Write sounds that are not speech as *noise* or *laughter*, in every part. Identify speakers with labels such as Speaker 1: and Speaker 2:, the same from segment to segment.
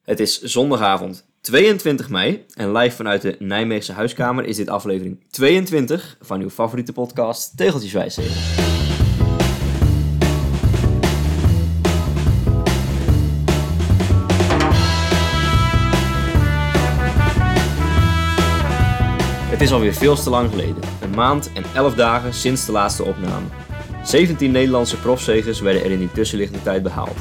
Speaker 1: Het is zondagavond 22 mei en live vanuit de Nijmeegse huiskamer is dit aflevering 22 van uw favoriete podcast Tegeltjeswijsheden. Het is alweer veel te lang geleden, een maand en 11 dagen sinds de laatste opname. 17 Nederlandse profzegers werden er in die tussenliggende tijd behaald.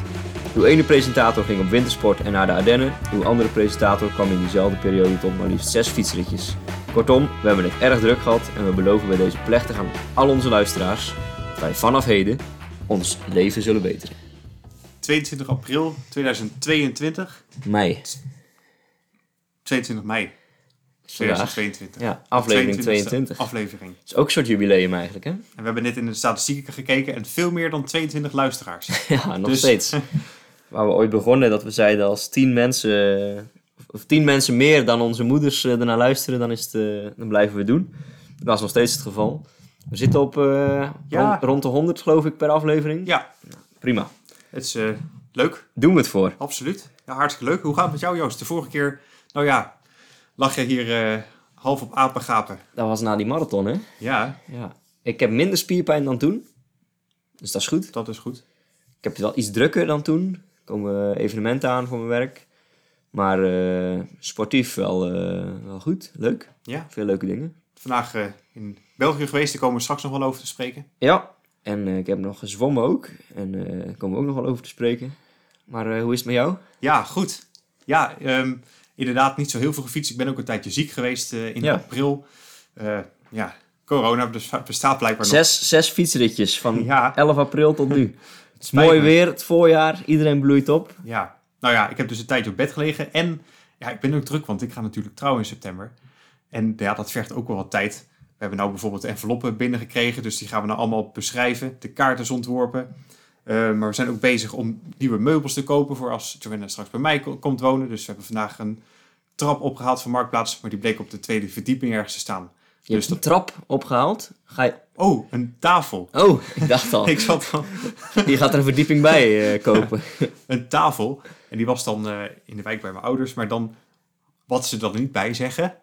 Speaker 1: Uw ene presentator ging op wintersport en naar de Ardennen. Uw andere presentator kwam in diezelfde periode tot maar liefst zes fietsritjes. Kortom, we hebben het erg druk gehad en we beloven bij deze plechtig aan al onze luisteraars dat wij vanaf heden ons leven zullen beteren.
Speaker 2: 22 april 2022.
Speaker 1: Mei,
Speaker 2: 22 mei
Speaker 1: vandaag.
Speaker 2: 2022.
Speaker 1: Ja, aflevering
Speaker 2: 22e
Speaker 1: 22. Dat
Speaker 2: Aflevering.
Speaker 1: is ook een soort jubileum eigenlijk, hè? *laughs*
Speaker 2: En we hebben net in de statistieken gekeken en veel meer dan 22 luisteraars.
Speaker 1: Ja, nog
Speaker 2: *laughs* Dus-
Speaker 1: steeds. Waar we ooit begonnen, dat we zeiden als tien mensen, eh, of tien mensen meer dan onze moeders eh, ernaar luisteren, dan, is het, eh, dan blijven we het doen. Dat is nog steeds het geval. We zitten op eh,
Speaker 2: Ja.
Speaker 1: rond, rond de 100, geloof ik, per aflevering.
Speaker 2: ja,
Speaker 1: Prima.
Speaker 2: het is eh, leuk.
Speaker 1: Doen we het voor.
Speaker 2: Absoluut. Ja, hartstikke leuk. Hoe gaat het met jou, Joost? De vorige keer, nou ja, lag je hier eh, half op apengapen.
Speaker 1: Dat was na die marathon, hè?
Speaker 2: Ja,
Speaker 1: Ja. Ik heb minder spierpijn dan toen. Dus dat is goed.
Speaker 2: dat is goed.
Speaker 1: Ik heb het wel iets drukker dan toen. Er komen evenementen aan voor mijn werk. Maar eh, sportief wel, eh, wel goed. Leuk.
Speaker 2: Ja.
Speaker 1: Veel leuke dingen.
Speaker 2: Vandaag eh, in België geweest, daar komen we straks nog wel over te spreken.
Speaker 1: Ja, en eh, ik heb nog gezwommen ook. En eh, daar komen we ook nog wel over te spreken. Maar eh, hoe is het met jou?
Speaker 2: Ja, goed. Ja, ehm, inderdaad niet zo heel veel gefietst. Ik ben ook een tijdje ziek geweest eh, in
Speaker 1: Ja.
Speaker 2: april. Eh, ja, corona bes- bestaat blijkbaar nog.
Speaker 1: Zes, zes fietsritjes *laughs* van
Speaker 2: Ja.
Speaker 1: 11 april tot *laughs* nu.
Speaker 2: Het spijt
Speaker 1: Mooi
Speaker 2: me.
Speaker 1: weer, het voorjaar, iedereen bloeit op.
Speaker 2: Ja. Nou ja, ik heb dus een tijdje op bed gelegen. En ja, ik ben ook druk, want ik ga natuurlijk trouwen in september. En ja, dat vergt ook wel wat tijd. We hebben nou bijvoorbeeld de enveloppen binnengekregen. Dus die gaan we nou allemaal beschrijven. De kaart is ontworpen. Eh, maar we zijn ook bezig om nieuwe meubels te kopen voor als Joanna straks bij mij ko- komt wonen. Dus we hebben vandaag een trap opgehaald van Marktplaats. Maar die bleek op de tweede verdieping ergens te staan.
Speaker 1: Je
Speaker 2: Dus
Speaker 1: hebt de trap opgehaald. Ga je...
Speaker 2: Oh, een tafel.
Speaker 1: Oh, *laughs* ik dacht al.
Speaker 2: Ik zat al...
Speaker 1: Je gaat er een verdieping bij eh, kopen.
Speaker 2: een tafel. En die was dan eh, in de wijk bij mijn ouders. Maar dan, wat ze er niet bij zeggen,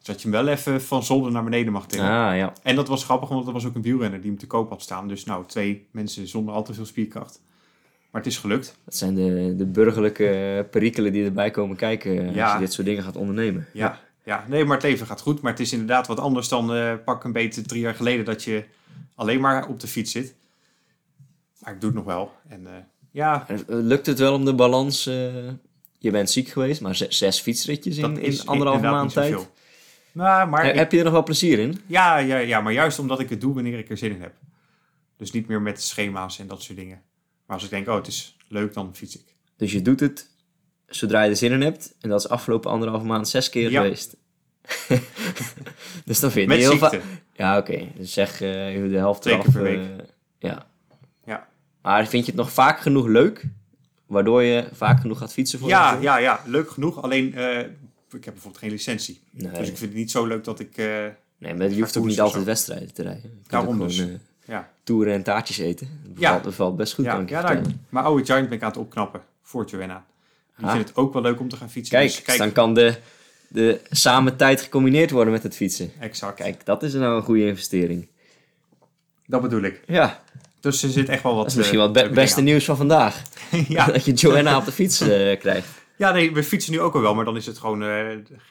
Speaker 2: is dat je hem wel even van zolder naar beneden mag tillen.
Speaker 1: Ah, *laughs* ja.
Speaker 2: En dat was grappig, want er was ook een wielrenner die hem te koop had staan. Dus nou, twee mensen zonder al te veel spierkracht. Maar het is gelukt.
Speaker 1: Dat zijn de, de burgerlijke perikelen die erbij komen kijken eh, als
Speaker 2: Ja.
Speaker 1: je dit soort dingen gaat ondernemen.
Speaker 2: Ja. ja, nee, maar het leven gaat goed. Maar het is inderdaad wat anders dan eh, pak een beetje drie jaar geleden dat je alleen maar op de fiets zit. Maar ik doe het nog wel. En eh, ja,
Speaker 1: En, eh, Lukt het wel om de balans... eh, je bent ziek geweest, maar zes, zes fietsritjes in, in anderhalve
Speaker 2: inderdaad
Speaker 1: maand
Speaker 2: niet
Speaker 1: tijd.
Speaker 2: zoveel. Nou, maar
Speaker 1: He-
Speaker 2: ik-
Speaker 1: Heb je er nog wel plezier in?
Speaker 2: Ja, ja, ja, maar juist omdat ik het doe wanneer ik er zin in heb. Dus niet meer met schema's en dat soort dingen. Maar als ik denk, oh, het is leuk, dan fiets ik.
Speaker 1: Dus je doet het zodra je er zin in hebt. En dat is afgelopen anderhalve maand zes keer
Speaker 2: Ja. *laughs*
Speaker 1: geweest. dus dan vind je
Speaker 2: Met
Speaker 1: heel
Speaker 2: ziekte.
Speaker 1: vaak. Ja, oké. Dus zeg eh, de helft
Speaker 2: Twee
Speaker 1: eraf.
Speaker 2: keer per week.
Speaker 1: eh, ja.
Speaker 2: Ja.
Speaker 1: Maar vind je het nog vaak genoeg leuk? Waardoor je vaak genoeg gaat fietsen voor
Speaker 2: Ja,
Speaker 1: jezelf?
Speaker 2: ja, ja, leuk genoeg. Alleen, eh, ik heb bijvoorbeeld geen licentie.
Speaker 1: Nee.
Speaker 2: Dus ik vind het niet zo leuk dat ik... eh,
Speaker 1: Nee, maar je hoeft ook
Speaker 2: Parcours
Speaker 1: niet
Speaker 2: of
Speaker 1: altijd
Speaker 2: zo.
Speaker 1: wedstrijden te rijden. Je kunt
Speaker 2: Daarom
Speaker 1: ook
Speaker 2: dus.
Speaker 1: gewoon, eh,
Speaker 2: ja,
Speaker 1: toeren en taartjes eten. Dat
Speaker 2: Ja.
Speaker 1: bevalt, bevalt best goed,
Speaker 2: ja,
Speaker 1: kan ik je
Speaker 2: ja nou,
Speaker 1: vertellen.
Speaker 2: mijn oude Giant ben ik aan het opknappen voor Joanna. Die
Speaker 1: Ah.
Speaker 2: vindt het ook wel leuk om te gaan fietsen.
Speaker 1: Kijk,
Speaker 2: dus
Speaker 1: dus dan kan de, de samen tijd gecombineerd worden met het fietsen.
Speaker 2: exact.
Speaker 1: Kijk, dat is nou een goede investering.
Speaker 2: Dat bedoel ik.
Speaker 1: Ja.
Speaker 2: Dus er zit echt wel wat...
Speaker 1: Dat is misschien
Speaker 2: eh,
Speaker 1: wel het be-
Speaker 2: leuke
Speaker 1: beste nieuws van vandaag.
Speaker 2: dingen aan. ja.
Speaker 1: *laughs* Dat je Joanna op de fiets eh, krijgt.
Speaker 2: ja, nee, we fietsen nu ook al wel, maar dan is het gewoon eh,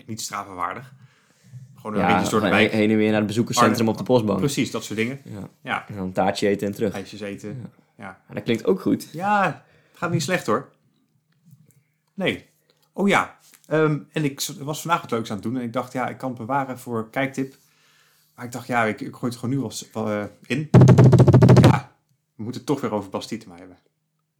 Speaker 2: niet stravenwaardig. Gewoon een
Speaker 1: Ja,
Speaker 2: beetje door de
Speaker 1: gewoon
Speaker 2: wijk.
Speaker 1: heen en weer naar het bezoekerscentrum op de postbank.
Speaker 2: Precies, dat soort dingen.
Speaker 1: Oh. Ja.
Speaker 2: Ja,
Speaker 1: En dan een taartje eten en terug.
Speaker 2: ijsjes eten. Ja.
Speaker 1: Maar dat klinkt ook goed.
Speaker 2: ja, gaat niet slecht hoor. Nee. Oh ja, ehm, en ik z- was vandaag wat leuks aan het doen. En ik dacht, ja, ik kan het bewaren voor kijktip. Maar ik dacht, ja, ik, ik gooi het gewoon nu als, eh, in. Ja, we moeten het toch weer over Bastietema hebben.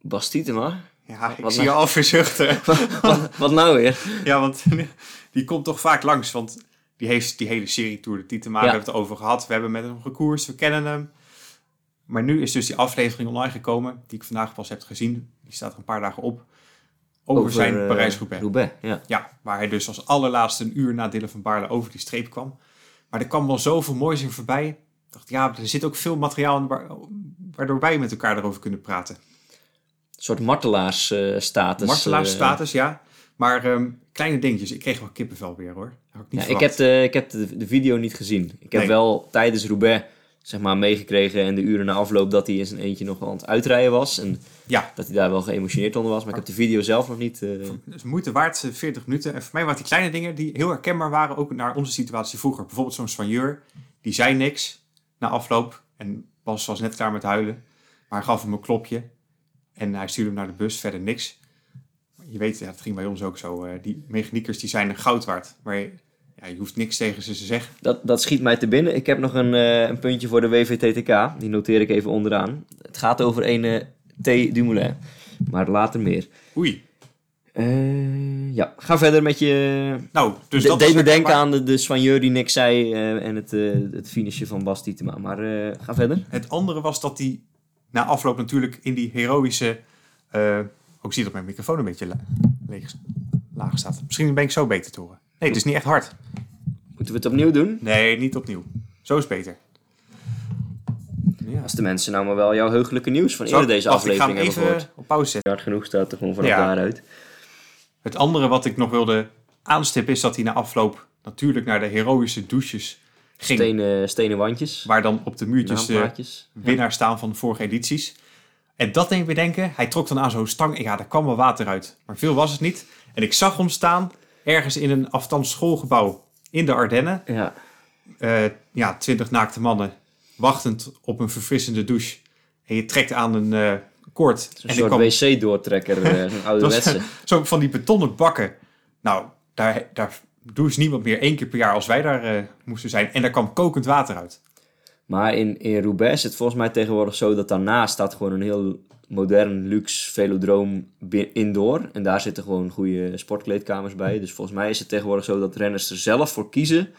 Speaker 1: Bastieten
Speaker 2: *laughs*
Speaker 1: maar.
Speaker 2: Ja, ik
Speaker 1: Wat
Speaker 2: zie je al *laughs* verzuchten.
Speaker 1: wat, wat nou weer?
Speaker 2: ja, want *laughs* die komt toch vaak langs. Want die heeft die hele serie Tour de Tietema.
Speaker 1: Ja.
Speaker 2: We hebben het over gehad. We hebben met hem gekoerst. We kennen hem. Maar nu is dus die aflevering online gekomen. Die ik vandaag pas heb gezien. Die staat er een paar dagen op. Over, zijn
Speaker 1: eh,
Speaker 2: Parijs-Roubaix.
Speaker 1: Roubaix, ja.
Speaker 2: Ja, waar hij dus als allerlaatste een uur na Dylan van Baarle over die streep kwam. Maar er kwam wel zoveel moois in voorbij. Ik dacht, ja, er zit ook veel materiaal in waar- waardoor wij met elkaar erover kunnen praten.
Speaker 1: Een soort martelaarsstatus. eh,
Speaker 2: Martelaarsstatus, ja. Maar ehm, kleine dingetjes. Ik kreeg wel kippenvel weer hoor. Had ik niet
Speaker 1: Ja, ik heb,
Speaker 2: verwacht.
Speaker 1: de, ik heb de, de video niet gezien. Ik heb
Speaker 2: Nee.
Speaker 1: wel tijdens Roubaix zeg maar, meegekregen en de uren na afloop dat hij in zijn eentje nog wel aan het uitrijden was. En
Speaker 2: Ja.
Speaker 1: dat hij daar wel geëmotioneerd onder was. Maar ik heb de video zelf nog niet. eh,
Speaker 2: Dus moeite waard, eh, 40 minuten. En voor mij waren die kleine dingen die heel herkenbaar waren, ook naar onze situatie vroeger. Bijvoorbeeld zo'n soigneur, die zei niks na afloop. En Bas was net klaar met huilen. Maar hij gaf hem een klopje. En hij stuurde hem naar de bus, verder niks. Je weet, ja, dat ging bij ons ook zo. eh, die mechaniekers die zijn er goud waard. Maar je, ja, je hoeft niks tegen ze te zeggen.
Speaker 1: dat, dat schiet mij te binnen. Ik heb nog een, eh, een puntje voor de WVTTK. Die noteer ik even onderaan. Het gaat over een eh, T. Dumoulin. Maar later meer.
Speaker 2: Oei.
Speaker 1: Eh, ja, ga verder met je.
Speaker 2: Nou, dus
Speaker 1: De-
Speaker 2: dat
Speaker 1: deed
Speaker 2: was-
Speaker 1: me denken aan de, de soigneur die niks zei eh, en het, eh het finishje van Bas Tietema. Maar eh, ga verder.
Speaker 2: Het andere was dat hij na afloop natuurlijk in die heroïsche... eh, ook zie dat mijn microfoon een beetje la- leeg, laag staat. Misschien ben ik zo beter te horen. Nee, het is niet echt hard.
Speaker 1: Moeten we het opnieuw doen?
Speaker 2: Nee, niet opnieuw. Zo is beter. Ja.
Speaker 1: Als de mensen nou maar wel jouw heugelijke nieuws van
Speaker 2: Zal
Speaker 1: eerder
Speaker 2: ik-
Speaker 1: deze
Speaker 2: wacht,
Speaker 1: aflevering
Speaker 2: ik
Speaker 1: hebben
Speaker 2: ga hem
Speaker 1: gehoord.
Speaker 2: even op pauze zetten.
Speaker 1: Hard genoeg staat er gewoon vanaf
Speaker 2: Ja.
Speaker 1: daaruit.
Speaker 2: Het andere wat ik nog wilde aanstippen is dat hij na afloop natuurlijk naar de heroïsche douches ging.
Speaker 1: Stenen, stenen wandjes,
Speaker 2: Waar dan op de muurtjes eh, de
Speaker 1: naamplaatjes.
Speaker 2: winnaar staan van de vorige edities. En dat deed me denken. Hij trok dan aan zo'n stang. Ja, daar kwam wel water uit. Maar veel was het niet. En ik zag hem staan ergens in een afstands schoolgebouw in de Ardennen.
Speaker 1: Ja,
Speaker 2: Eh, ja, twintig naakte mannen wachtend op een verfrissende douche. En je trekt aan een eh, koord.
Speaker 1: een
Speaker 2: en
Speaker 1: soort
Speaker 2: kwam
Speaker 1: wc-doortrekker, eh, zo'n ouderwetse.
Speaker 2: *laughs* dat was- zo van die betonnen bakken. Nou, daar, daar douche niemand meer één keer per jaar als wij daar eh, moesten zijn. En daar kwam kokend water uit.
Speaker 1: Maar in, in Roubaix is het volgens mij tegenwoordig zo dat daarnaast staat gewoon een heel modern, luxe velodroom bi- indoor. En daar zitten gewoon goede sportkleedkamers bij. Dus volgens mij is het tegenwoordig zo dat renners er zelf voor kiezen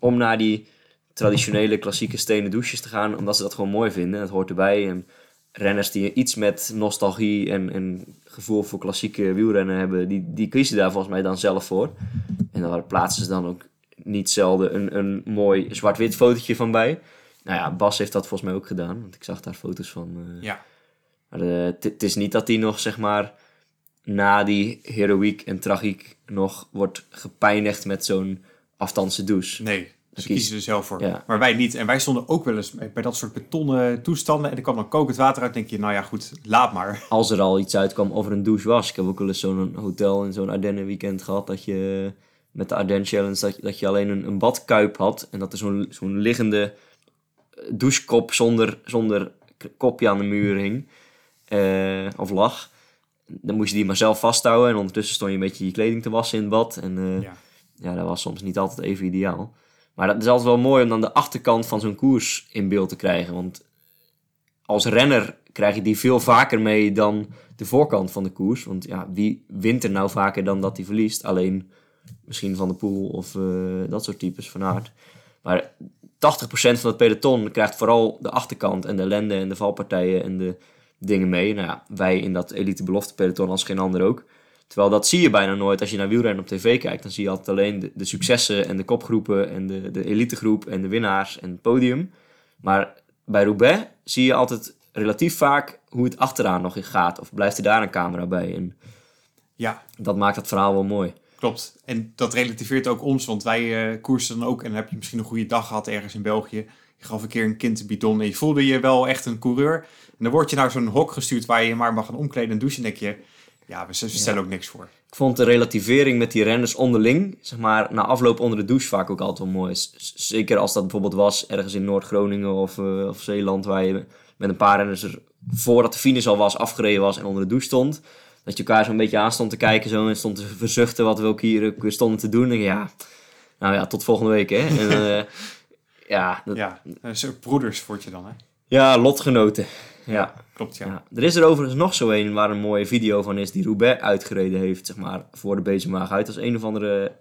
Speaker 1: om naar die traditionele klassieke stenen douches te gaan. Omdat ze dat gewoon mooi vinden. Dat hoort erbij. En renners die iets met nostalgie en, en gevoel voor klassieke wielrennen hebben, die, die kiezen daar volgens mij dan zelf voor. En daar plaatsen ze dan ook niet zelden een, een mooi zwart-wit fotootje van bij. Nou ja, Bas heeft dat volgens mij ook gedaan, want ik zag daar foto's van. eh.
Speaker 2: Ja.
Speaker 1: Maar eh, het het is niet dat hij nog, zeg maar, na die heroïek en tragiek nog wordt gepijnigd met zo'n afstandse douche.
Speaker 2: Nee, ze
Speaker 1: kies-
Speaker 2: kiezen er zelf voor.
Speaker 1: Ja.
Speaker 2: Maar wij niet. En wij stonden ook wel eens bij bij dat soort betonnen toestanden. En er kwam dan kokend water uit. denk je, nou ja, goed, laat maar. *laughs*
Speaker 1: Als er al iets uitkwam over een douche was. Ik heb ook wel eens zo'n hotel in zo'n Ardennen weekend gehad dat je met de Ardennen Challenge, dat je, dat je alleen een, een badkuip had en dat er zo'n zo'n liggende douchekop zonder, zonder k- kopje aan de muur hing. eh, of lag. Dan moest je die maar zelf vasthouden en ondertussen stond je een beetje je kleding te wassen in het bad. En eh,
Speaker 2: Ja.
Speaker 1: ja, dat was soms niet altijd even ideaal. Maar dat is altijd wel mooi om dan de achterkant van zo'n koers in beeld te krijgen. Want als renner krijg je die veel vaker mee dan de voorkant van de koers. Want ja, wie wint er nou vaker dan dat hij verliest? Alleen misschien Van de Poel of eh, dat soort types van aard. Maar 80% van het peloton krijgt vooral de achterkant en de ellende en de valpartijen en de dingen mee. Nou ja, wij in dat elite belofte peloton als geen ander ook. Terwijl dat zie je bijna nooit als je naar wielrennen op tv kijkt. Dan zie je altijd alleen de, de successen en de kopgroepen en de, de elitegroep en de winnaars en het podium. Maar bij Roubaix zie je altijd relatief vaak hoe het achteraan nog in gaat. Of blijft er daar een camera bij. En
Speaker 2: ja,
Speaker 1: dat maakt dat verhaal wel mooi.
Speaker 2: klopt. En dat relativeert ook ons. Want wij eh, koersen dan ook. En dan heb je misschien een goede dag gehad ergens in België. Je gaf een keer een kind een bidon. En je voelde je wel echt een coureur. En dan word je naar zo'n hok gestuurd waar je je maar mag gaan omkleden en douchen. En denk je, ja, we s- stellen ook niks voor.
Speaker 1: Ik vond de relativering met die renners onderling, zeg maar, na afloop onder de douche vaak ook altijd wel mooi. Z- z- Zeker als dat bijvoorbeeld was ergens in Noord-Groningen of, eh, of Zeeland, waar je met een paar renners er voordat de finish al was, afgereden was en onder de douche stond. Dat je elkaar zo'n beetje aan stond te kijken zo, en stond te verzuchten wat we ook hier ook weer stonden te doen. En ja, nou ja, tot volgende week hè. En, eh, ja, dat-
Speaker 2: Ja, eh, soort broeders word je dan, hè?
Speaker 1: ja, lotgenoten. Ja.
Speaker 2: Klopt, ja.
Speaker 1: Ja. Er is er overigens nog zo een waar een mooie video van is die Roubaix uitgereden heeft, zeg maar, voor de Bezemaag uit. Als een of andere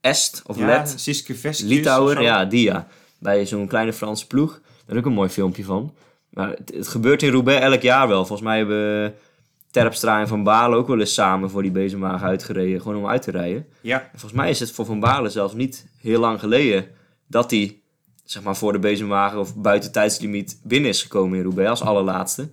Speaker 1: Est of
Speaker 2: Ja,
Speaker 1: Let,
Speaker 2: Siske Vestjes of
Speaker 1: Litouwer,
Speaker 2: zo.
Speaker 1: ja, die ja. Bij zo'n kleine Franse ploeg. Daar is ook een mooi filmpje van. Maar het, het gebeurt in Roubaix elk jaar wel. Volgens mij hebben Terpstra en Van Balen ook wel eens samen voor die Bezemaag uitgereden, gewoon om uit te rijden.
Speaker 2: Ja,
Speaker 1: En Volgens mij is het voor Van Balen zelfs niet heel lang geleden dat hij zeg maar, voor de bezemwagen of buiten tijdslimiet binnen is gekomen in Roubaix als allerlaatste.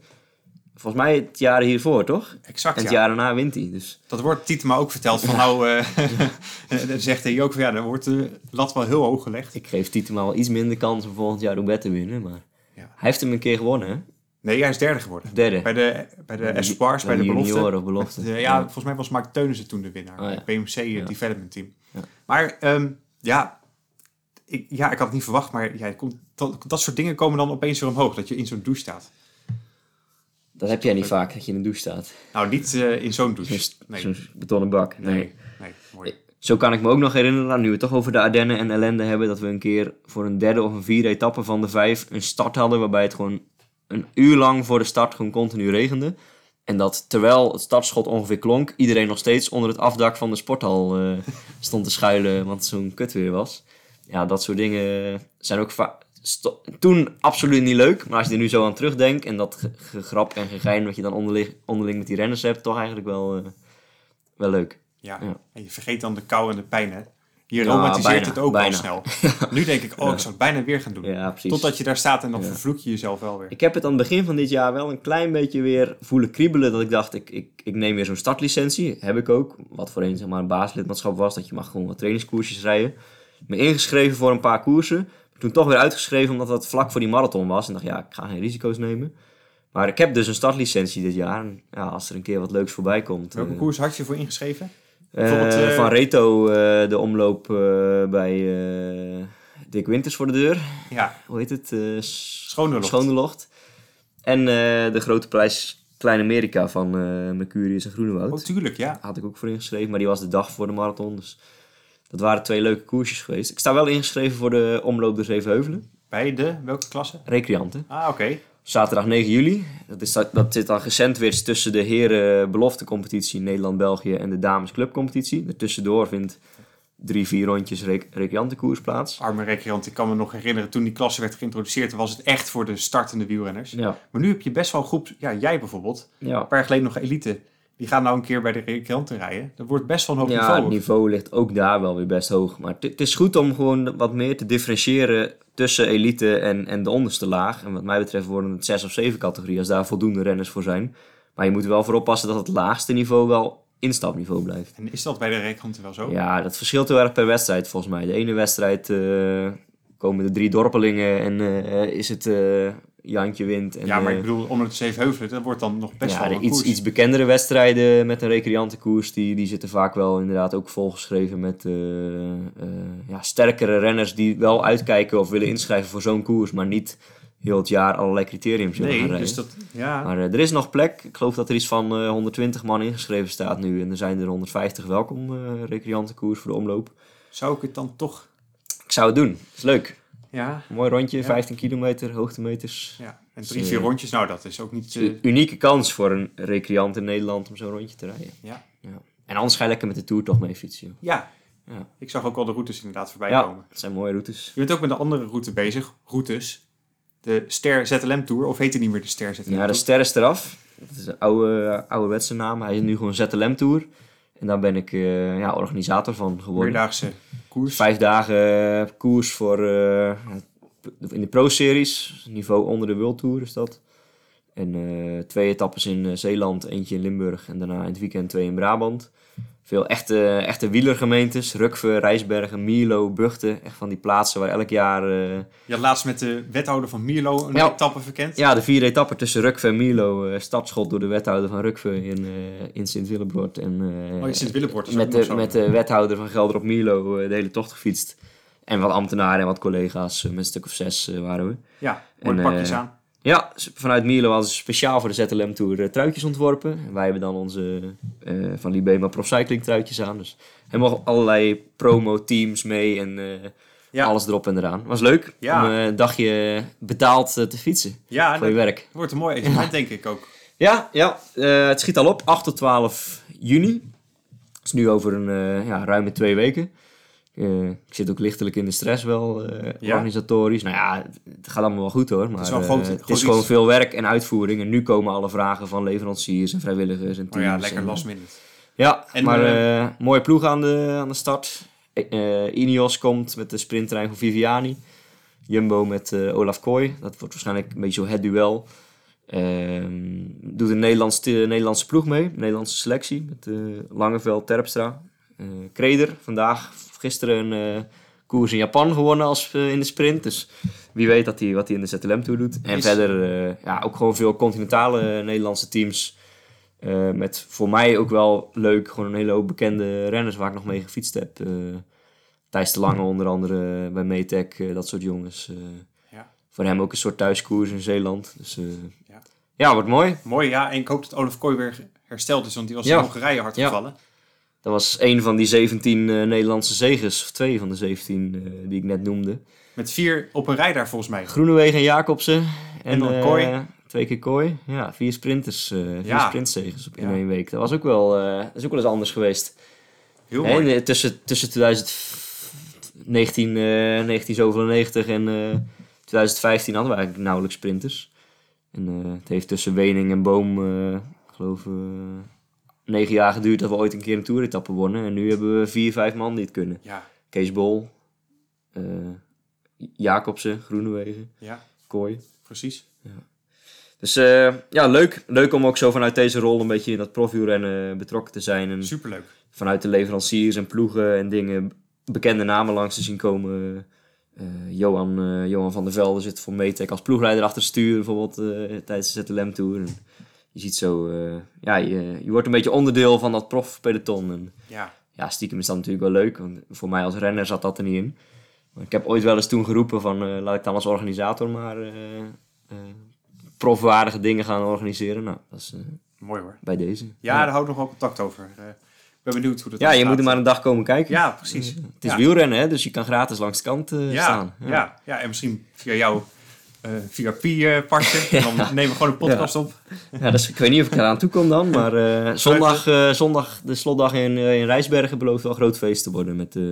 Speaker 1: volgens mij het jaar hiervoor, toch? En
Speaker 2: Exact,
Speaker 1: het
Speaker 2: ja.
Speaker 1: jaar daarna wint hij. Dus
Speaker 2: Dat wordt Tietema ook verteld. Van, nou, eh, *laughs* en dan zegt hij ook van, ja, dan wordt de lat wel heel hoog gelegd.
Speaker 1: ik geef Tietema wel iets minder kans om volgend jaar Roubaix te winnen. Maar
Speaker 2: Ja.
Speaker 1: hij heeft hem een keer gewonnen, hè?
Speaker 2: Nee, hij is derde geworden.
Speaker 1: Derde.
Speaker 2: Bij de, bij de Espoirs, bij de belofte.
Speaker 1: junioren of belofte.
Speaker 2: De- *laughs* ja, volgens mij was Mark Teunissen toen de winnaar.
Speaker 1: Oh, ja.
Speaker 2: het BMC eh, Development Team.
Speaker 1: Ja.
Speaker 2: Maar ehm, ja, ik, ja, ik had het niet verwacht. Maar ja, het komt, dat, dat soort dingen komen dan opeens weer omhoog. Dat je in zo'n douche staat.
Speaker 1: Dat heb jij niet vaak, dat je in de douche staat.
Speaker 2: Nou, niet eh, in zo'n douche.
Speaker 1: Zo'n-
Speaker 2: Nee,
Speaker 1: Zo'n betonnen bak. Nee.
Speaker 2: nee, nee. Mooi.
Speaker 1: Zo kan ik me ook nog herinneren, nou, nu we het toch over de Ardennen en ellende hebben, dat we een keer voor een derde of een vierde etappe van de vijf een start hadden waarbij het gewoon een uur lang voor de start gewoon continu regende. En dat terwijl het startschot ongeveer klonk, iedereen nog steeds onder het afdak van de sporthal eh, stond te schuilen, want zo'n kut weer was. Ja, dat soort dingen zijn ook va- sto- toen absoluut niet leuk, maar als je er nu zo aan terugdenkt en dat ge- gegrap en gegein wat je dan onderlig- onderling met die renners hebt, toch eigenlijk wel, eh, wel leuk.
Speaker 2: Ja.
Speaker 1: Ja.
Speaker 2: en je vergeet dan de kou en de pijn, hè? Je
Speaker 1: Ja,
Speaker 2: romantiseert
Speaker 1: bijna,
Speaker 2: het ook
Speaker 1: bijna. *laughs*
Speaker 2: al snel. Nu denk ik, oh, ik zou het bijna weer gaan doen.
Speaker 1: Ja, precies.
Speaker 2: Totdat je daar staat en dan vervloek je jezelf wel weer.
Speaker 1: Ik heb het aan het begin van dit jaar wel een klein beetje weer voelen kriebelen. Dat ik dacht, ik, ik, ik neem weer zo'n startlicentie. Heb ik ook. Wat voorheen zeg maar een basislidmaatschap was. Dat je mag gewoon wat trainingskoersjes rijden. Me ingeschreven voor een paar koersen. Toen toch weer uitgeschreven omdat dat vlak voor die marathon was. En dacht, ja, ik ga geen risico's nemen. Maar ik heb dus een startlicentie dit jaar. En ja, als er een keer wat leuks voorbij komt.
Speaker 2: Welke
Speaker 1: eh,
Speaker 2: koers had je voor ingeschreven?
Speaker 1: eh,
Speaker 2: bijvoorbeeld, eh,
Speaker 1: van Reto eh, de omloop eh, bij eh, Dick Winters voor de deur
Speaker 2: Ja,
Speaker 1: hoe heet het? eh s-
Speaker 2: Schoonderlocht.
Speaker 1: Schoonderlocht. En eh, de grote prijs Klein-Amerika van eh Mercurius en Groenewoud.
Speaker 2: oh, tuurlijk, ja.
Speaker 1: Had ik ook voor ingeschreven, maar die was de dag voor de marathon. Dus dat waren twee leuke koersjes geweest. Ik sta wel ingeschreven voor de omloop de Zevenheuvelen.
Speaker 2: Bij de, welke klasse?
Speaker 1: Recreanten.
Speaker 2: Ah, oké.
Speaker 1: Zaterdag 9 juli. Dat, is, dat zit dan gesandwiched tussen de heren beloftecompetitie Nederland-België en de dames clubcompetitie. Daartussendoor vindt drie, vier rondjes rec recreantenkoers plaats.
Speaker 2: Arme recreant, ik kan me nog herinneren, toen die klasse werd geïntroduceerd, was het echt voor de startende wielrenners.
Speaker 1: Ja.
Speaker 2: Maar nu heb je best wel een groep, ja, jij bijvoorbeeld,
Speaker 1: ja.
Speaker 2: een paar jaar geleden nog elite, die gaan nou een keer bij de recreanten rijden. Dat wordt best wel een hoog
Speaker 1: Ja,
Speaker 2: niveau.
Speaker 1: het niveau ligt ook daar wel weer best hoog. Maar het- het is goed om gewoon wat meer te differentiëren tussen elite en, en de onderste laag. En wat mij betreft worden het zes of zeven categorieën als daar voldoende renners voor zijn. Maar je moet er wel voor oppassen dat het laagste niveau wel instapniveau blijft.
Speaker 2: En is dat bij de recreanten wel zo?
Speaker 1: Ja, dat verschilt heel erg per wedstrijd volgens mij. De ene wedstrijd eh, komen de drie dorpelingen en eh, eh, is het eh, Jantje wint. En,
Speaker 2: Ja, maar
Speaker 1: eh,
Speaker 2: ik bedoel, onder de Zevenheuvelen, dat wordt dan nog best
Speaker 1: ja,
Speaker 2: wel
Speaker 1: de
Speaker 2: een
Speaker 1: iets,
Speaker 2: koers.
Speaker 1: iets bekendere wedstrijden met een recreantenkoers, die, die zitten vaak wel inderdaad ook volgeschreven met eh, eh, ja, sterkere renners die wel uitkijken of willen inschrijven voor zo'n koers, maar niet heel het jaar allerlei criteriums willen gaan
Speaker 2: Nee,
Speaker 1: rijden.
Speaker 2: dus dat, ja,
Speaker 1: Maar eh, er is nog plek. Ik geloof dat er iets van eh, 120 man ingeschreven staat nu. En er zijn er 150 welkom eh recreantenkoers voor de omloop.
Speaker 2: zou ik het dan toch,
Speaker 1: Ik zou het doen. Is leuk.
Speaker 2: ja,
Speaker 1: Een mooi rondje,
Speaker 2: Ja.
Speaker 1: 15 kilometer, hoogtemeters.
Speaker 2: ja. En drie,
Speaker 1: eh,
Speaker 2: vier rondjes, nou, dat is ook niet, eh,
Speaker 1: Een unieke kans voor een recreant in Nederland om zo'n rondje te rijden.
Speaker 2: ja.
Speaker 1: Ja. En anders ga je lekker met de Tour toch mee fietsen. joh.
Speaker 2: Ja.
Speaker 1: Ja.
Speaker 2: ik zag ook al de routes inderdaad voorbij
Speaker 1: Ja,
Speaker 2: komen.
Speaker 1: het zijn mooie routes.
Speaker 2: Je bent ook met een andere route bezig, routes. De Ster ZLM Tour, of heet die niet meer de Ster ZLM
Speaker 1: Ja, de
Speaker 2: Tour?
Speaker 1: Ster is eraf. Dat is een oude, ouderwetse naam. Hij is nu gewoon ZLM Tour. En daar ben ik eh, ja, organisator van geworden.
Speaker 2: Meerdaagse koers.
Speaker 1: Vijf dagen eh, koers voor, eh, in de Pro-series. Niveau onder de World Tour is dat. En eh, twee etappes in eh, Zeeland, eentje in Limburg en daarna in het weekend twee in Brabant. Veel echte, echte wielergemeentes. Rukve, Rijsbergen, Mierlo, Buchten. Echt van die plaatsen waar elk jaar... eh,
Speaker 2: Je had laatst met de wethouder van Mierlo een
Speaker 1: Ja.
Speaker 2: etappe verkend.
Speaker 1: Ja, de vierde etappe tussen Rukve en Milo. eh, stadschot door de wethouder van Rukve in, eh, in Sint-Willebroord. En, eh,
Speaker 2: Oh, in Sint-Willebord is
Speaker 1: met,
Speaker 2: ook nog
Speaker 1: de,
Speaker 2: zo.
Speaker 1: met de wethouder van Gelder op Milo eh, de hele tocht gefietst. En wat ambtenaren en wat collega's, eh, met een stuk of zes eh, waren we.
Speaker 2: ja, mooie
Speaker 1: En,
Speaker 2: pakjes
Speaker 1: eh,
Speaker 2: aan.
Speaker 1: Ja, s- vanuit Milo hadden ze speciaal voor de ZLM Tour eh, truitjes ontworpen. En wij hebben dan onze eh, van Libema Pro Cycling truitjes aan. Dus helemaal allerlei promo-teams mee en eh,
Speaker 2: Ja.
Speaker 1: alles erop en eraan. Was leuk
Speaker 2: Ja.
Speaker 1: om eh, een dagje betaald eh, te fietsen
Speaker 2: Ja,
Speaker 1: voor je
Speaker 2: dat
Speaker 1: werk.
Speaker 2: wordt een mooi evenement, denk ik ook.
Speaker 1: Ja, ja eh, het schiet al op. 8 tot 12 juni. Dat is nu over een eh, ja, ruime twee weken. Eh, ik zit ook lichtelijk in de stress wel, eh,
Speaker 2: Ja.
Speaker 1: organisatorisch. Nou ja, het- het gaat allemaal wel goed hoor. Maar, het
Speaker 2: is
Speaker 1: is,
Speaker 2: wel groot-
Speaker 1: het
Speaker 2: groot
Speaker 1: is gewoon
Speaker 2: iets.
Speaker 1: veel werk en uitvoering. En nu komen alle vragen van leveranciers en vrijwilligers en
Speaker 2: Maar
Speaker 1: teams.
Speaker 2: Oh ja, lekker
Speaker 1: en-
Speaker 2: last minute.
Speaker 1: Ja,
Speaker 2: En,
Speaker 1: maar eh, mooie ploeg aan de, aan de start. Eh, eh, Ineos komt met de sprinttrein van Viviani. Jumbo met eh, Olaf Kooi. Dat wordt waarschijnlijk een beetje zo het duel. Ehm, doet een Nederlands, de Nederlandse ploeg mee, een Nederlandse selectie. Met eh, Langeveld, Terpstra, eh, Kreder. Vandaag, gisteren een eh, koers in Japan gewonnen als, eh, in de sprint. Dus wie weet dat hij, wat hij in de ZLM Tour doet. En
Speaker 2: Is-
Speaker 1: verder eh, ja, ook gewoon veel continentale eh, Nederlandse teams. Eh, met voor mij ook wel leuk, gewoon een hele hoop bekende renners waar ik nog mee gefietst heb. Eh, Thijs de Lange onder andere, eh, bij Metec, eh, dat soort jongens. eh.
Speaker 2: Ja.
Speaker 1: Voor hem ook een soort thuiskoers in Zeeland. Dus eh,
Speaker 2: Ja.
Speaker 1: ja. wordt mooi.
Speaker 2: Mooi, ja. En ik hoop dat Olaf Kooi weer hersteld is, want die was
Speaker 1: Ja.
Speaker 2: in Hongarije hard
Speaker 1: Ja.
Speaker 2: gevallen.
Speaker 1: Dat was één van die 17 eh, Nederlandse zegers, of twee van de 17 eh, die ik net noemde.
Speaker 2: Met vier op een rij daar volgens mij.
Speaker 1: Groenewegen en Jacobsen. En,
Speaker 2: dan
Speaker 1: eh,
Speaker 2: Kooi.
Speaker 1: Twee keer kooi. Ja, vier sprinters. eh vier
Speaker 2: Ja.
Speaker 1: sprintzegers op in
Speaker 2: Ja.
Speaker 1: één week. Dat was ook wel, eh, dat is ook wel eens anders geweest.
Speaker 2: Heel
Speaker 1: Hè,
Speaker 2: mooi.
Speaker 1: en, eh, tussen, tussen 2019 eh 19 zoveel en 90 en eh, 2015 hadden we eigenlijk nauwelijks sprinters. En eh, het heeft tussen Wening en Boom, eh, ik geloof, eh, negen jaar geduurd dat we ooit een keer een toeretappe wonnen. En nu hebben we vier, vijf man die het kunnen.
Speaker 2: Ja,
Speaker 1: Kees Bol, eh, Jacobsen, Groenewegen,
Speaker 2: ja,
Speaker 1: Kooi.
Speaker 2: precies.
Speaker 1: Dus eh, ja, leuk. Leuk om ook zo vanuit deze rol een beetje in dat profielrennen eh, betrokken te zijn. En
Speaker 2: Superleuk.
Speaker 1: vanuit de leveranciers en ploegen en dingen bekende namen langs te zien komen. Eh, Johan, eh, Johan van der Velde zit voor Metec als ploegleider achter het stuur bijvoorbeeld eh, tijdens de ZLM Tour. En je ziet zo, eh, ja, je, je wordt een beetje onderdeel van dat profpeloton. En
Speaker 2: Ja,
Speaker 1: ja, stiekem is dat natuurlijk wel leuk, want voor mij als renner zat dat er niet in. Maar ik heb ooit wel eens toen geroepen van, eh, laat ik dan als organisator maar eh, eh, profwaardige dingen gaan organiseren. Nou, dat is eh,
Speaker 2: mooi hoor.
Speaker 1: bij deze.
Speaker 2: Ja, daar houdt nog wel contact over. Eh, ik ben benieuwd hoe dat
Speaker 1: Ja, je moet er
Speaker 2: ontstaat.
Speaker 1: maar een dag komen kijken. eh,
Speaker 2: Ja, precies.
Speaker 1: Het is
Speaker 2: ja.
Speaker 1: wielrennen, hè? dus je kan gratis langs de kant eh,
Speaker 2: ja,
Speaker 1: staan.
Speaker 2: Ja. Ja. en misschien via jou eh via
Speaker 1: *laughs*
Speaker 2: VIP-pasje. Dan nemen we gewoon een podcast op.
Speaker 1: Ja, dus ik weet niet of ik eraan toe kom dan, maar eh, zondag, eh, zondag, de slotdag in, eh, in Rijsbergen belooft wel een groot feest te worden met eh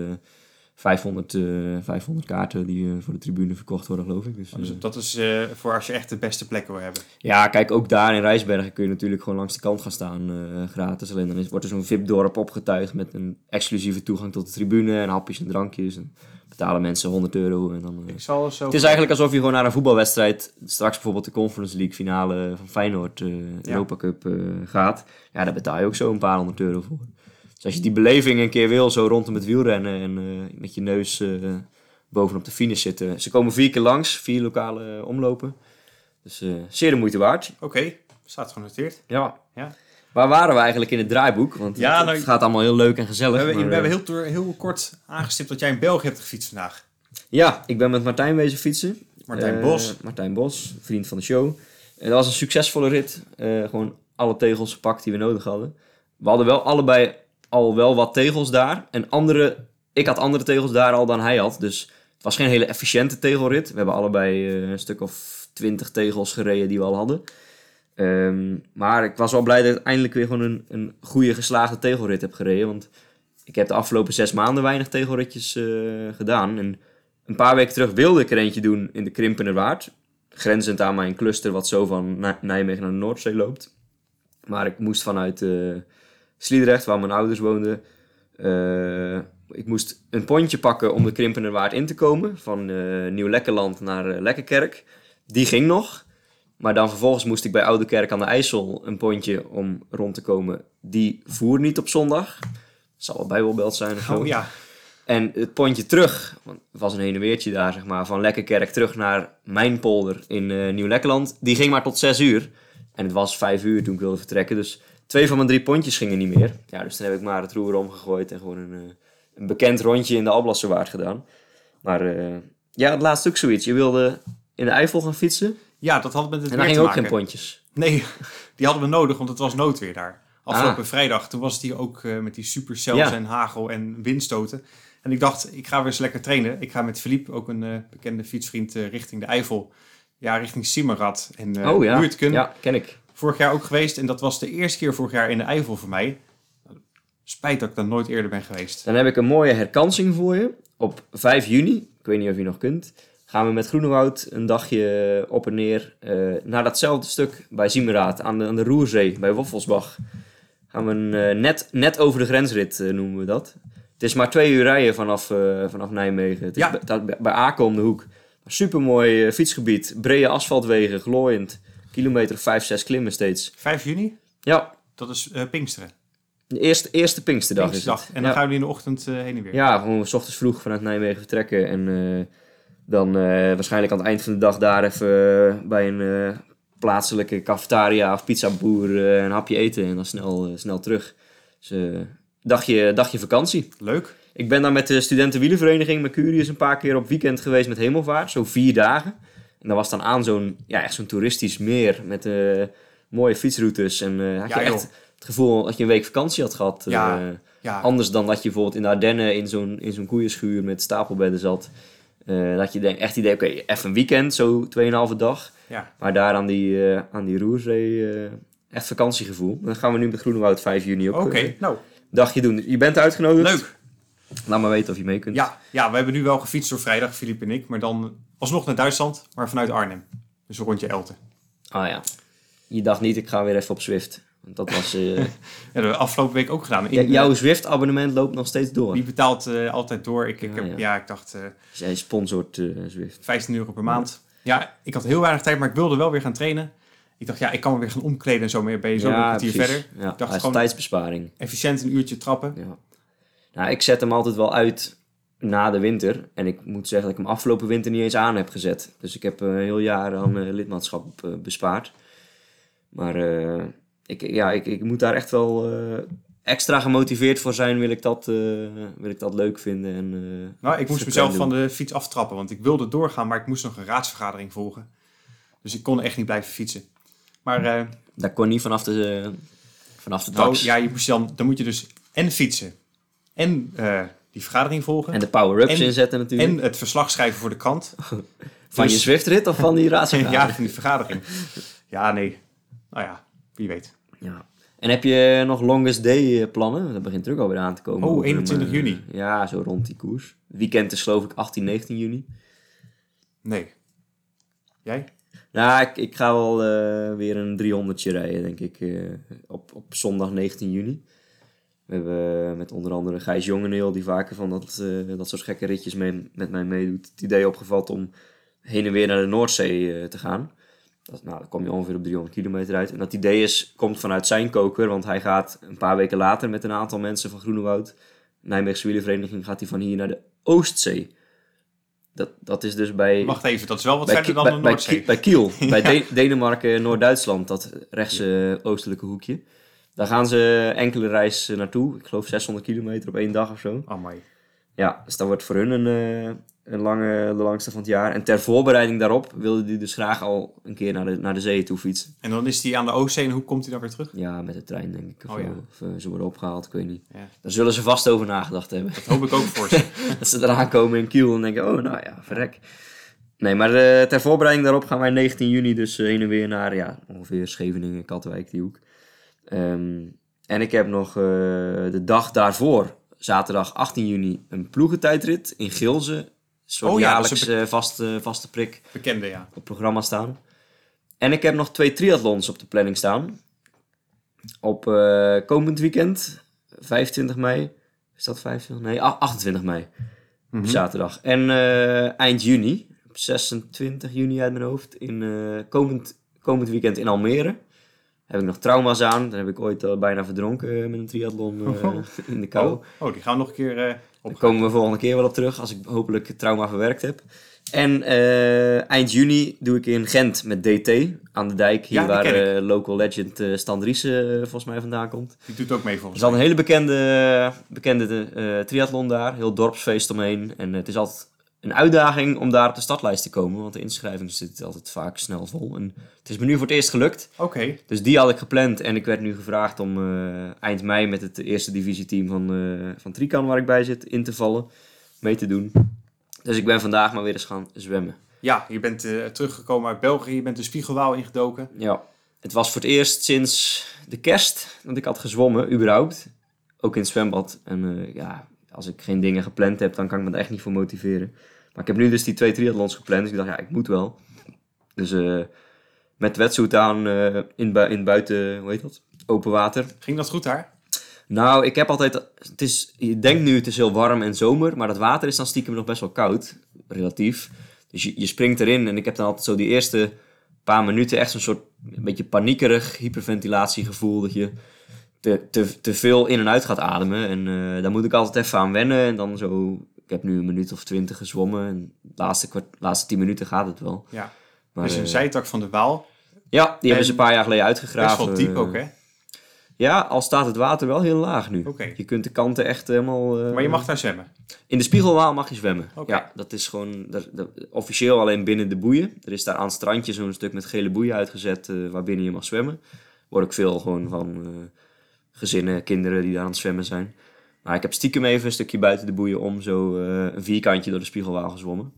Speaker 1: 500, eh, 500 kaarten die eh, voor de tribune verkocht worden, geloof ik. Dus, eh,
Speaker 2: Dus dat is eh, voor als je echt de beste plekken wil hebben.
Speaker 1: ja, kijk, ook daar in Rijsbergen kun je natuurlijk gewoon langs de kant gaan staan, eh, gratis. Alleen dan is, wordt er zo'n VIP-dorp opgetuigd met een exclusieve toegang tot de tribune en hapjes en drankjes. En betalen mensen 100 euro en dan... eh,
Speaker 2: Ik zal zo...
Speaker 1: Het is eigenlijk alsof je gewoon naar een voetbalwedstrijd, straks bijvoorbeeld de Conference League finale van Feyenoord, eh, Europa Cup eh, gaat. Ja, daar betaal je ook zo een paar honderd euro voor. Dus als je die beleving een keer wil, zo rondom het wielrennen en eh, met je neus eh, bovenop de finish zitten. Ze komen vier keer langs, vier lokale eh, omlopen. Dus eh, zeer de moeite waard.
Speaker 2: Oké, staat genoteerd.
Speaker 1: Ja.
Speaker 2: Ja.
Speaker 1: Waar waren we eigenlijk in het draaiboek? Want
Speaker 2: Ja,
Speaker 1: het,
Speaker 2: nou,
Speaker 1: het gaat allemaal heel leuk en gezellig.
Speaker 2: We hebben,
Speaker 1: maar,
Speaker 2: we
Speaker 1: eh,
Speaker 2: hebben heel, toer- heel kort aangestipt dat jij in België hebt gefietst vandaag.
Speaker 1: Ja, ik ben met Martijn wezen fietsen.
Speaker 2: Martijn
Speaker 1: Eh,
Speaker 2: Bos.
Speaker 1: Martijn Bos, vriend van de show. En dat was een succesvolle rit. Eh, gewoon alle tegels gepakt die we nodig hadden. We hadden wel allebei al wel wat tegels daar. En andere, ik had andere tegels daar al dan hij had. Dus het was geen hele efficiënte tegelrit. We hebben allebei eh, een stuk of twintig tegels gereden die we al hadden. Ehm, maar ik was wel blij dat ik eindelijk weer gewoon een, een goede geslaagde tegelrit heb gereden. Want ik heb de afgelopen zes maanden weinig tegelritjes eh, gedaan. En een paar weken terug wilde ik er eentje doen in de Krimpener Waard. Grenzend aan mijn cluster wat zo van Nij- Nijmegen naar de Noordzee loopt. Maar ik moest vanuit eh, Sliedrecht, waar mijn ouders woonden... eh, ik moest een pontje pakken om de Krimpener Waard in te komen. Van eh, Nieuw-Lekkerland naar eh, Lekkerkerk. Die ging nog. Maar dan vervolgens moest ik bij Oude Kerk aan de IJssel een pontje om rond te komen. Die voer niet op zondag. Zal wel bijbelbelt zijn of zo.
Speaker 2: Oh ja,
Speaker 1: En het pontje terug, want het was een heen en weertje daar, zeg maar, van Lekkerkerk terug naar mijn polder in eh, Nieuw-Lekkerland, die ging maar tot 6 uur. En het was 5 uur toen ik wilde vertrekken, dus twee van mijn drie pontjes gingen niet meer. Ja, dus dan heb ik maar het roer omgegooid en gewoon een, eh, een bekend rondje in de Alblassenwaard gedaan. Maar eh, ja, het laatste ook zoiets. Je wilde in de Eifel gaan fietsen
Speaker 2: ja dat had met het
Speaker 1: en
Speaker 2: weer
Speaker 1: daar
Speaker 2: te
Speaker 1: gingen ook
Speaker 2: maken.
Speaker 1: geen pontjes.
Speaker 2: Nee, *laughs* die hadden we nodig, want het was noodweer daar. Afgelopen vrijdag, toen was het hier ook eh, met die supercells
Speaker 1: Ah. Ja.
Speaker 2: en hagel en windstoten. En ik dacht, ik ga weer eens lekker trainen. Ik ga met Philippe, ook een eh, bekende fietsvriend, eh, richting de Eifel. Ja, richting Simmerad en eh
Speaker 1: oh ja.
Speaker 2: Buurtken.
Speaker 1: ja, ken ik.
Speaker 2: Vorig jaar ook geweest en dat was de eerste keer vorig jaar in de Eifel voor mij. Spijt dat ik daar nooit eerder ben geweest.
Speaker 1: Dan heb ik een mooie herkansing voor je. Op 5 juni, ik weet niet of je nog kunt, gaan we met Groenewoud een dagje op en neer eh, naar datzelfde stuk bij Siemeraad aan de, aan de Roerzee, bij Woffelsbach. Gaan we een eh, net, net over de grensrit eh, noemen we dat. Het is maar twee uur rijden vanaf, eh, vanaf Nijmegen. Het is
Speaker 2: Ja.
Speaker 1: bij, dat- bij Aken om de hoek. Supermooi eh, fietsgebied, brede asfaltwegen, glooiend. kilometer of 5, 6 klimmen steeds.
Speaker 2: 5 juni,
Speaker 1: Ja,
Speaker 2: dat is eh, Pinksteren.
Speaker 1: de eerste, eerste Pinksterdag is
Speaker 2: Pinksterdag.
Speaker 1: het.
Speaker 2: En dan
Speaker 1: ja.
Speaker 2: gaan jullie in de ochtend eh, heen en weer.
Speaker 1: Ja, gewoon s ochtends vroeg vanuit Nijmegen vertrekken. En eh, dan eh, waarschijnlijk aan het eind van de dag daar even eh, bij een eh, plaatselijke cafetaria of pizzaboer eh, een hapje eten. En dan snel, eh, snel terug. Dus eh, dagje, dagje vakantie.
Speaker 2: Leuk.
Speaker 1: Ik ben daar met de studentenwielenvereniging Mercurius een paar keer op weekend geweest met Hemelvaart. Zo vier dagen. En daar was dan aan zo'n ja, echt zo'n toeristisch meer met eh, mooie fietsroutes. En eh, had
Speaker 2: Ja,
Speaker 1: je
Speaker 2: joh.
Speaker 1: echt het gevoel dat je een week vakantie had gehad.
Speaker 2: Ja.
Speaker 1: eh,
Speaker 2: Ja,
Speaker 1: Anders dan dat je bijvoorbeeld in de Ardennen in zo'n, in zo'n koeienschuur met stapelbedden zat. Eh, dat je denkt, echt idee, oké, even een weekend, zo 2,5 dag.
Speaker 2: ja.
Speaker 1: Maar daar aan die, eh, aan die Roerzee, eh, echt vakantiegevoel. Dan gaan we nu met Groenewoud 5 juni ook
Speaker 2: Oké,
Speaker 1: eh,
Speaker 2: nou,
Speaker 1: een dagje doen. Dus je bent uitgenodigd.
Speaker 2: leuk.
Speaker 1: Laat maar weten of je mee kunt.
Speaker 2: Ja, ja, we hebben nu wel gefietst door vrijdag, Filip en ik. Maar dan alsnog naar Duitsland, maar vanuit Arnhem. Dus een rondje Elten.
Speaker 1: Ah ja. Je dacht niet, ik ga weer even op Zwift. Want dat was... eh,
Speaker 2: *laughs* Ja, dat hebben we afgelopen week ook gedaan.
Speaker 1: j-
Speaker 2: In-
Speaker 1: jouw Zwift-abonnement loopt nog steeds door.
Speaker 2: Die betaalt eh, altijd door. Ik, ik
Speaker 1: Ja,
Speaker 2: heb,
Speaker 1: ja.
Speaker 2: ja. ik dacht eh,
Speaker 1: Dus Jij sponsort eh, Zwift.
Speaker 2: 15 euro per maand. Ja, ik had heel weinig tijd, maar ik wilde wel weer gaan trainen. Ik dacht, ja, ik kan me weer gaan omkleden en zo meer. Ben je zo weer een kwartier
Speaker 1: precies.
Speaker 2: verder.
Speaker 1: Ja,
Speaker 2: dacht
Speaker 1: dat is
Speaker 2: gewoon-
Speaker 1: tijdsbesparing.
Speaker 2: Efficiënt een uurtje trappen.
Speaker 1: Ja. Nou, ik zet hem altijd wel uit na de winter. En ik moet zeggen dat ik hem afgelopen winter niet eens aan heb gezet. Dus ik heb eh, een heel jaar aan eh, lidmaatschap eh, bespaard. Maar eh, ik, ja, ik, ik moet daar echt wel eh, extra gemotiveerd voor zijn. Wil ik dat, eh, wil ik dat leuk vinden. En, eh,
Speaker 2: Nou, ik moest
Speaker 1: Verklein
Speaker 2: mezelf
Speaker 1: doen.
Speaker 2: van de fiets aftrappen, want ik wilde doorgaan, maar ik moest nog een raadsvergadering volgen. Dus ik kon echt niet blijven fietsen. Maar eh,
Speaker 1: daar kon niet vanaf de, eh, vanaf de
Speaker 2: nou,
Speaker 1: tax.
Speaker 2: ja, je moest dan, dan moet je dus en fietsen en eh, die vergadering volgen.
Speaker 1: En de power-ups
Speaker 2: En-
Speaker 1: inzetten natuurlijk.
Speaker 2: En het verslag schrijven voor de krant.
Speaker 1: *laughs* van je
Speaker 2: dus-
Speaker 1: Zwift-rit of van
Speaker 2: *laughs*
Speaker 1: die raadsvergadering?
Speaker 2: ja, van die vergadering. Ja, nee. Nou ja, wie weet.
Speaker 1: Ja. En heb je nog Longest Day eh, plannen? Dat begint er ook alweer aan te komen.
Speaker 2: Oh,
Speaker 1: Over
Speaker 2: 21
Speaker 1: eh,
Speaker 2: juni.
Speaker 1: Ja, zo rond die koers. Het weekend is geloof ik 18, 19 juni.
Speaker 2: Nee. Jij?
Speaker 1: Nou, ik, ik ga wel eh, weer een 300tje rijden, denk ik. eh, op, op zondag 19 juni. We hebben eh, met onder andere Gijs Jongeneel, die vaker van dat, eh, dat soort gekke ritjes mee, met mij meedoet, het idee opgevat om heen en weer naar de Noordzee eh, te gaan. Dat, nou, dan kom je ongeveer op 300 kilometer uit. En dat idee is, komt vanuit zijn koker, want hij gaat een paar weken later met een aantal mensen van Groenewoud, Nijmeegse Wielenvereniging, gaat hij van hier naar de Oostzee. Dat, dat is dus bij
Speaker 2: Wacht even, dat is wel wat
Speaker 1: bij,
Speaker 2: verder
Speaker 1: Ki-
Speaker 2: dan
Speaker 1: bij,
Speaker 2: de
Speaker 1: bij
Speaker 2: Noordzee.
Speaker 1: Ki- bij
Speaker 2: *laughs*
Speaker 1: Kiel, bij De- Denemarken, Noord-Duitsland, dat rechtse eh, oostelijke hoekje. Daar gaan ze enkele reis eh, naartoe. Ik geloof 600 kilometer op één dag of zo.
Speaker 2: Oh my.
Speaker 1: Ja, dus dat wordt voor hun een, eh, een lange, de langste van het jaar. En ter voorbereiding daarop wilden die dus graag al een keer naar de, naar de zee toe fietsen.
Speaker 2: En dan is die aan de Oostzee en hoe komt hij dan weer terug?
Speaker 1: Ja, met de trein denk ik. Of,
Speaker 2: Oh ja.
Speaker 1: of, eh, ze worden opgehaald, ik weet niet.
Speaker 2: Ja.
Speaker 1: Daar zullen ze vast over nagedacht hebben.
Speaker 2: Dat hoop ik ook voor ze.
Speaker 1: *laughs* dat ze eraan komen in Kiel en denken, oh nou ja, verrek. Nee, maar eh, ter voorbereiding daarop gaan wij 19 juni dus eh, heen en weer naar ja, ongeveer Scheveningen, Katwijk, die hoek. Ehm, en ik heb nog eh, de dag daarvoor, zaterdag 18 juni, een ploegentijdrit in Gilze. Een soort
Speaker 2: Oh ja, dat is
Speaker 1: jaarlijks eh, vaste, vaste prik
Speaker 2: Bekende, ja.
Speaker 1: op het programma staan. En ik heb nog twee triathlons op de planning staan. Op eh, komend weekend, 25 mei. Is dat 25? Nee, a- 28 mei. Op
Speaker 2: Mhm.
Speaker 1: zaterdag. En eh, eind juni, op 26 juni uit mijn hoofd, in, eh, komend, komend weekend in Almere. Heb ik nog trauma's aan. Daar heb ik ooit al bijna verdronken eh, met een triathlon eh,
Speaker 2: Oh.
Speaker 1: in de kou.
Speaker 2: Oh, oh, die gaan we nog een keer eh, op.
Speaker 1: Daar komen we volgende keer wel op terug, als ik hopelijk het trauma verwerkt heb. En eh, eind juni doe ik in Gent met DT aan de dijk. Hier
Speaker 2: Ja, die
Speaker 1: waar
Speaker 2: ken ik.
Speaker 1: eh, local legend eh Stan Driessen eh, volgens mij vandaan komt.
Speaker 2: Die doet ook mee volgens
Speaker 1: Er is al een hele bekende, bekende eh, triathlon daar. Heel dorpsfeest omheen. En het is altijd een uitdaging om daar op de stadlijst te komen. Want de inschrijving zit altijd vaak snel vol. En het is me nu voor het eerst gelukt.
Speaker 2: Oké,
Speaker 1: Dus die had ik gepland en ik werd nu gevraagd om eh, eind mei met het eerste divisieteam van, eh van Trican, waar ik bij zit, in te vallen. Mee te doen. Dus ik ben vandaag maar weer eens gaan zwemmen.
Speaker 2: ja, je bent eh, teruggekomen uit België, je bent de Spiegelwaal ingedoken.
Speaker 1: Ja, het was voor het eerst sinds de kerst dat ik had gezwommen, überhaupt. Ook in het zwembad. En eh, ja, als ik geen dingen gepland heb, dan kan ik me er echt niet voor motiveren. Maar ik heb nu dus die twee triathlons gepland, dus ik dacht, ja, ik moet wel. Dus eh, met wetsuit aan eh, in, bui- in buiten, hoe heet dat? Open water.
Speaker 2: Ging dat goed daar?
Speaker 1: Nou, ik heb altijd. Het is, je denkt nu, het is heel warm en zomer, maar het water is dan stiekem nog best wel koud, relatief. Dus je, je springt erin en ik heb dan altijd zo die eerste paar minuten echt zo'n soort een beetje paniekerig hyperventilatiegevoel. Dat je te, te, te veel in en uit gaat ademen. En eh, daar moet ik altijd even aan wennen. En dan zo, ik heb nu een minuut of twintig gezwommen. En de laatste, kwart, laatste tien minuten gaat het wel.
Speaker 2: Ja.
Speaker 1: Maar,
Speaker 2: dus een
Speaker 1: eh,
Speaker 2: zijtak van de Waal.
Speaker 1: ja, die hebben ze een paar jaar geleden uitgegraven.
Speaker 2: Best wel diep
Speaker 1: eh,
Speaker 2: ook, hè?
Speaker 1: Ja, al staat het water wel heel laag nu.
Speaker 2: Oké.
Speaker 1: Je kunt de kanten echt helemaal... eh,
Speaker 2: Maar je mag daar zwemmen.
Speaker 1: In de Spiegelwaal mag je zwemmen.
Speaker 2: Oké.
Speaker 1: Ja, dat is gewoon dat- dat- officieel alleen binnen de boeien. Er is daar aan het strandje zo'n stuk met gele boeien uitgezet eh, waarbinnen je mag zwemmen. Word ik veel gewoon van eh, gezinnen, kinderen die daar aan het zwemmen zijn. Maar ik heb stiekem even een stukje buiten de boeien om zo eh, een vierkantje door de Spiegelwaal gezwommen.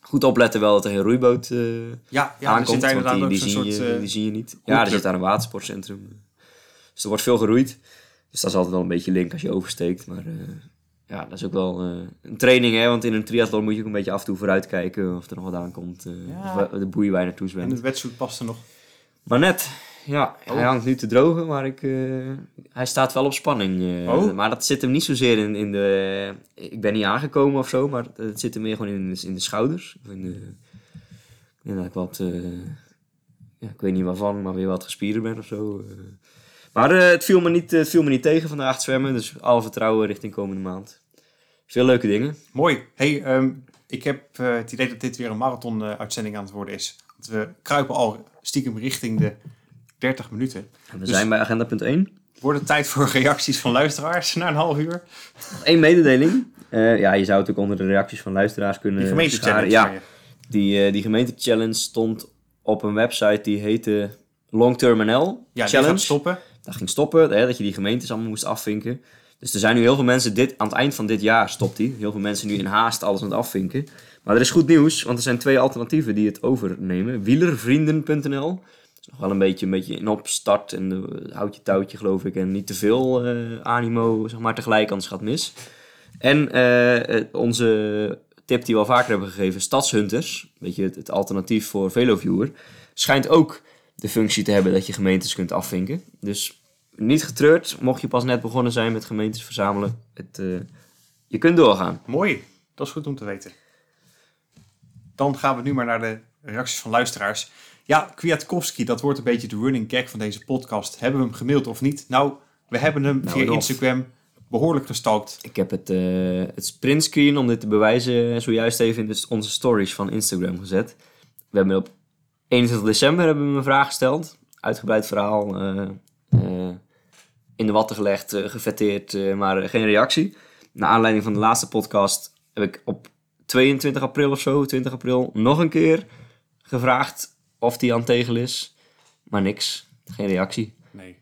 Speaker 1: Goed opletten wel dat er geen roeiboot eh
Speaker 2: Ja, ja er
Speaker 1: aankomt,
Speaker 2: zit daar
Speaker 1: want
Speaker 2: inderdaad
Speaker 1: die,
Speaker 2: ook
Speaker 1: die,
Speaker 2: zo'n
Speaker 1: zie
Speaker 2: soort...
Speaker 1: je,
Speaker 2: eh,
Speaker 1: die zie je niet. Ja, er
Speaker 2: hoekje.
Speaker 1: zit daar een watersportcentrum. Dus er wordt veel geroeid. Dus dat is altijd wel een beetje link als je oversteekt. Maar eh, ja, dat is ook wel eh, een training, hè. Want in een triathlon moet je ook een beetje af en toe vooruitkijken of er nog wat aankomt. eh,
Speaker 2: Ja.
Speaker 1: Of wa- de boei waar je naartoe
Speaker 2: en
Speaker 1: zwemt.
Speaker 2: het wetsuit past er nog.
Speaker 1: Maar net, ja, hij
Speaker 2: Oh.
Speaker 1: hangt nu te drogen, maar ik, eh, hij staat wel op spanning. eh,
Speaker 2: Oh.
Speaker 1: Maar dat zit hem niet zozeer in, in de... Ik ben niet aangekomen of zo, maar het zit hem meer gewoon in, de- in de schouders. Of in de... En dat eh, ik wat... eh, ja, ik weet niet waarvan, maar weer wat gespierder ben of zo. eh. Maar eh, het, viel me niet, het viel me niet tegen vandaag het zwemmen, dus alle vertrouwen richting komende maand. Veel leuke dingen.
Speaker 2: Mooi. hey, ehm, ik heb eh, het idee dat dit weer een marathon-uitzending aan het worden is. Want we kruipen al stiekem richting de 30 minuten.
Speaker 1: En we
Speaker 2: Dus-
Speaker 1: zijn bij agenda punt 1.
Speaker 2: Wordt het tijd voor *laughs* reacties van luisteraars na een half uur?
Speaker 1: Eén mededeling. Eh, ja, je zou het ook onder de reacties van luisteraars kunnen
Speaker 2: Die gemeentechallenge.
Speaker 1: scharen. Eh, Ja,
Speaker 2: van je.
Speaker 1: Die, eh, die gemeente-challenge stond op een website die heette Long Term NL
Speaker 2: ja die
Speaker 1: Challenge.
Speaker 2: gaat stoppen.
Speaker 1: dat ging stoppen, hè, dat je die gemeentes allemaal moest afvinken. Dus er zijn nu heel veel mensen, dit, aan het eind van dit jaar stopt die. Heel veel mensen nu in haast alles aan het afvinken. Maar er is goed nieuws, want er zijn twee alternatieven die het overnemen. Wielervrienden.nl, dat is nog wel een beetje, een beetje in opstart en eh, houd je touwtje geloof ik. En niet te veel eh, animo, zeg maar, tegelijk, anders gaat het mis. En eh, eh, onze tip die we al vaker hebben gegeven, Stadshunters, weet je, het, het alternatief voor Veloviewer, schijnt ook de functie te hebben dat je gemeentes kunt afvinken. Dus niet getreurd, mocht je pas net begonnen zijn met gemeentes verzamelen, het, eh, je kunt doorgaan.
Speaker 2: Mooi, dat is goed om te weten. Dan gaan we nu maar naar de reacties van luisteraars. Ja, Kwiatkowski, dat wordt een beetje de running gag van deze podcast. Hebben we hem gemaild of niet? Nou, we hebben hem
Speaker 1: Nou,
Speaker 2: via
Speaker 1: Rolf.
Speaker 2: Instagram behoorlijk gestalkt.
Speaker 1: Ik heb het, eh het printscreen om dit te bewijzen zojuist even in de- onze stories van Instagram gezet. We hebben op 21 december hebben we een vraag gesteld. Uitgebreid verhaal. eh, eh, in de watten gelegd, eh, gefetteerd, eh, maar eh, geen reactie. Naar aanleiding van de laatste podcast heb ik op 22 april of zo, 20 april, nog een keer gevraagd of die aan tegel is. Maar niks. Geen reactie.
Speaker 2: Nee.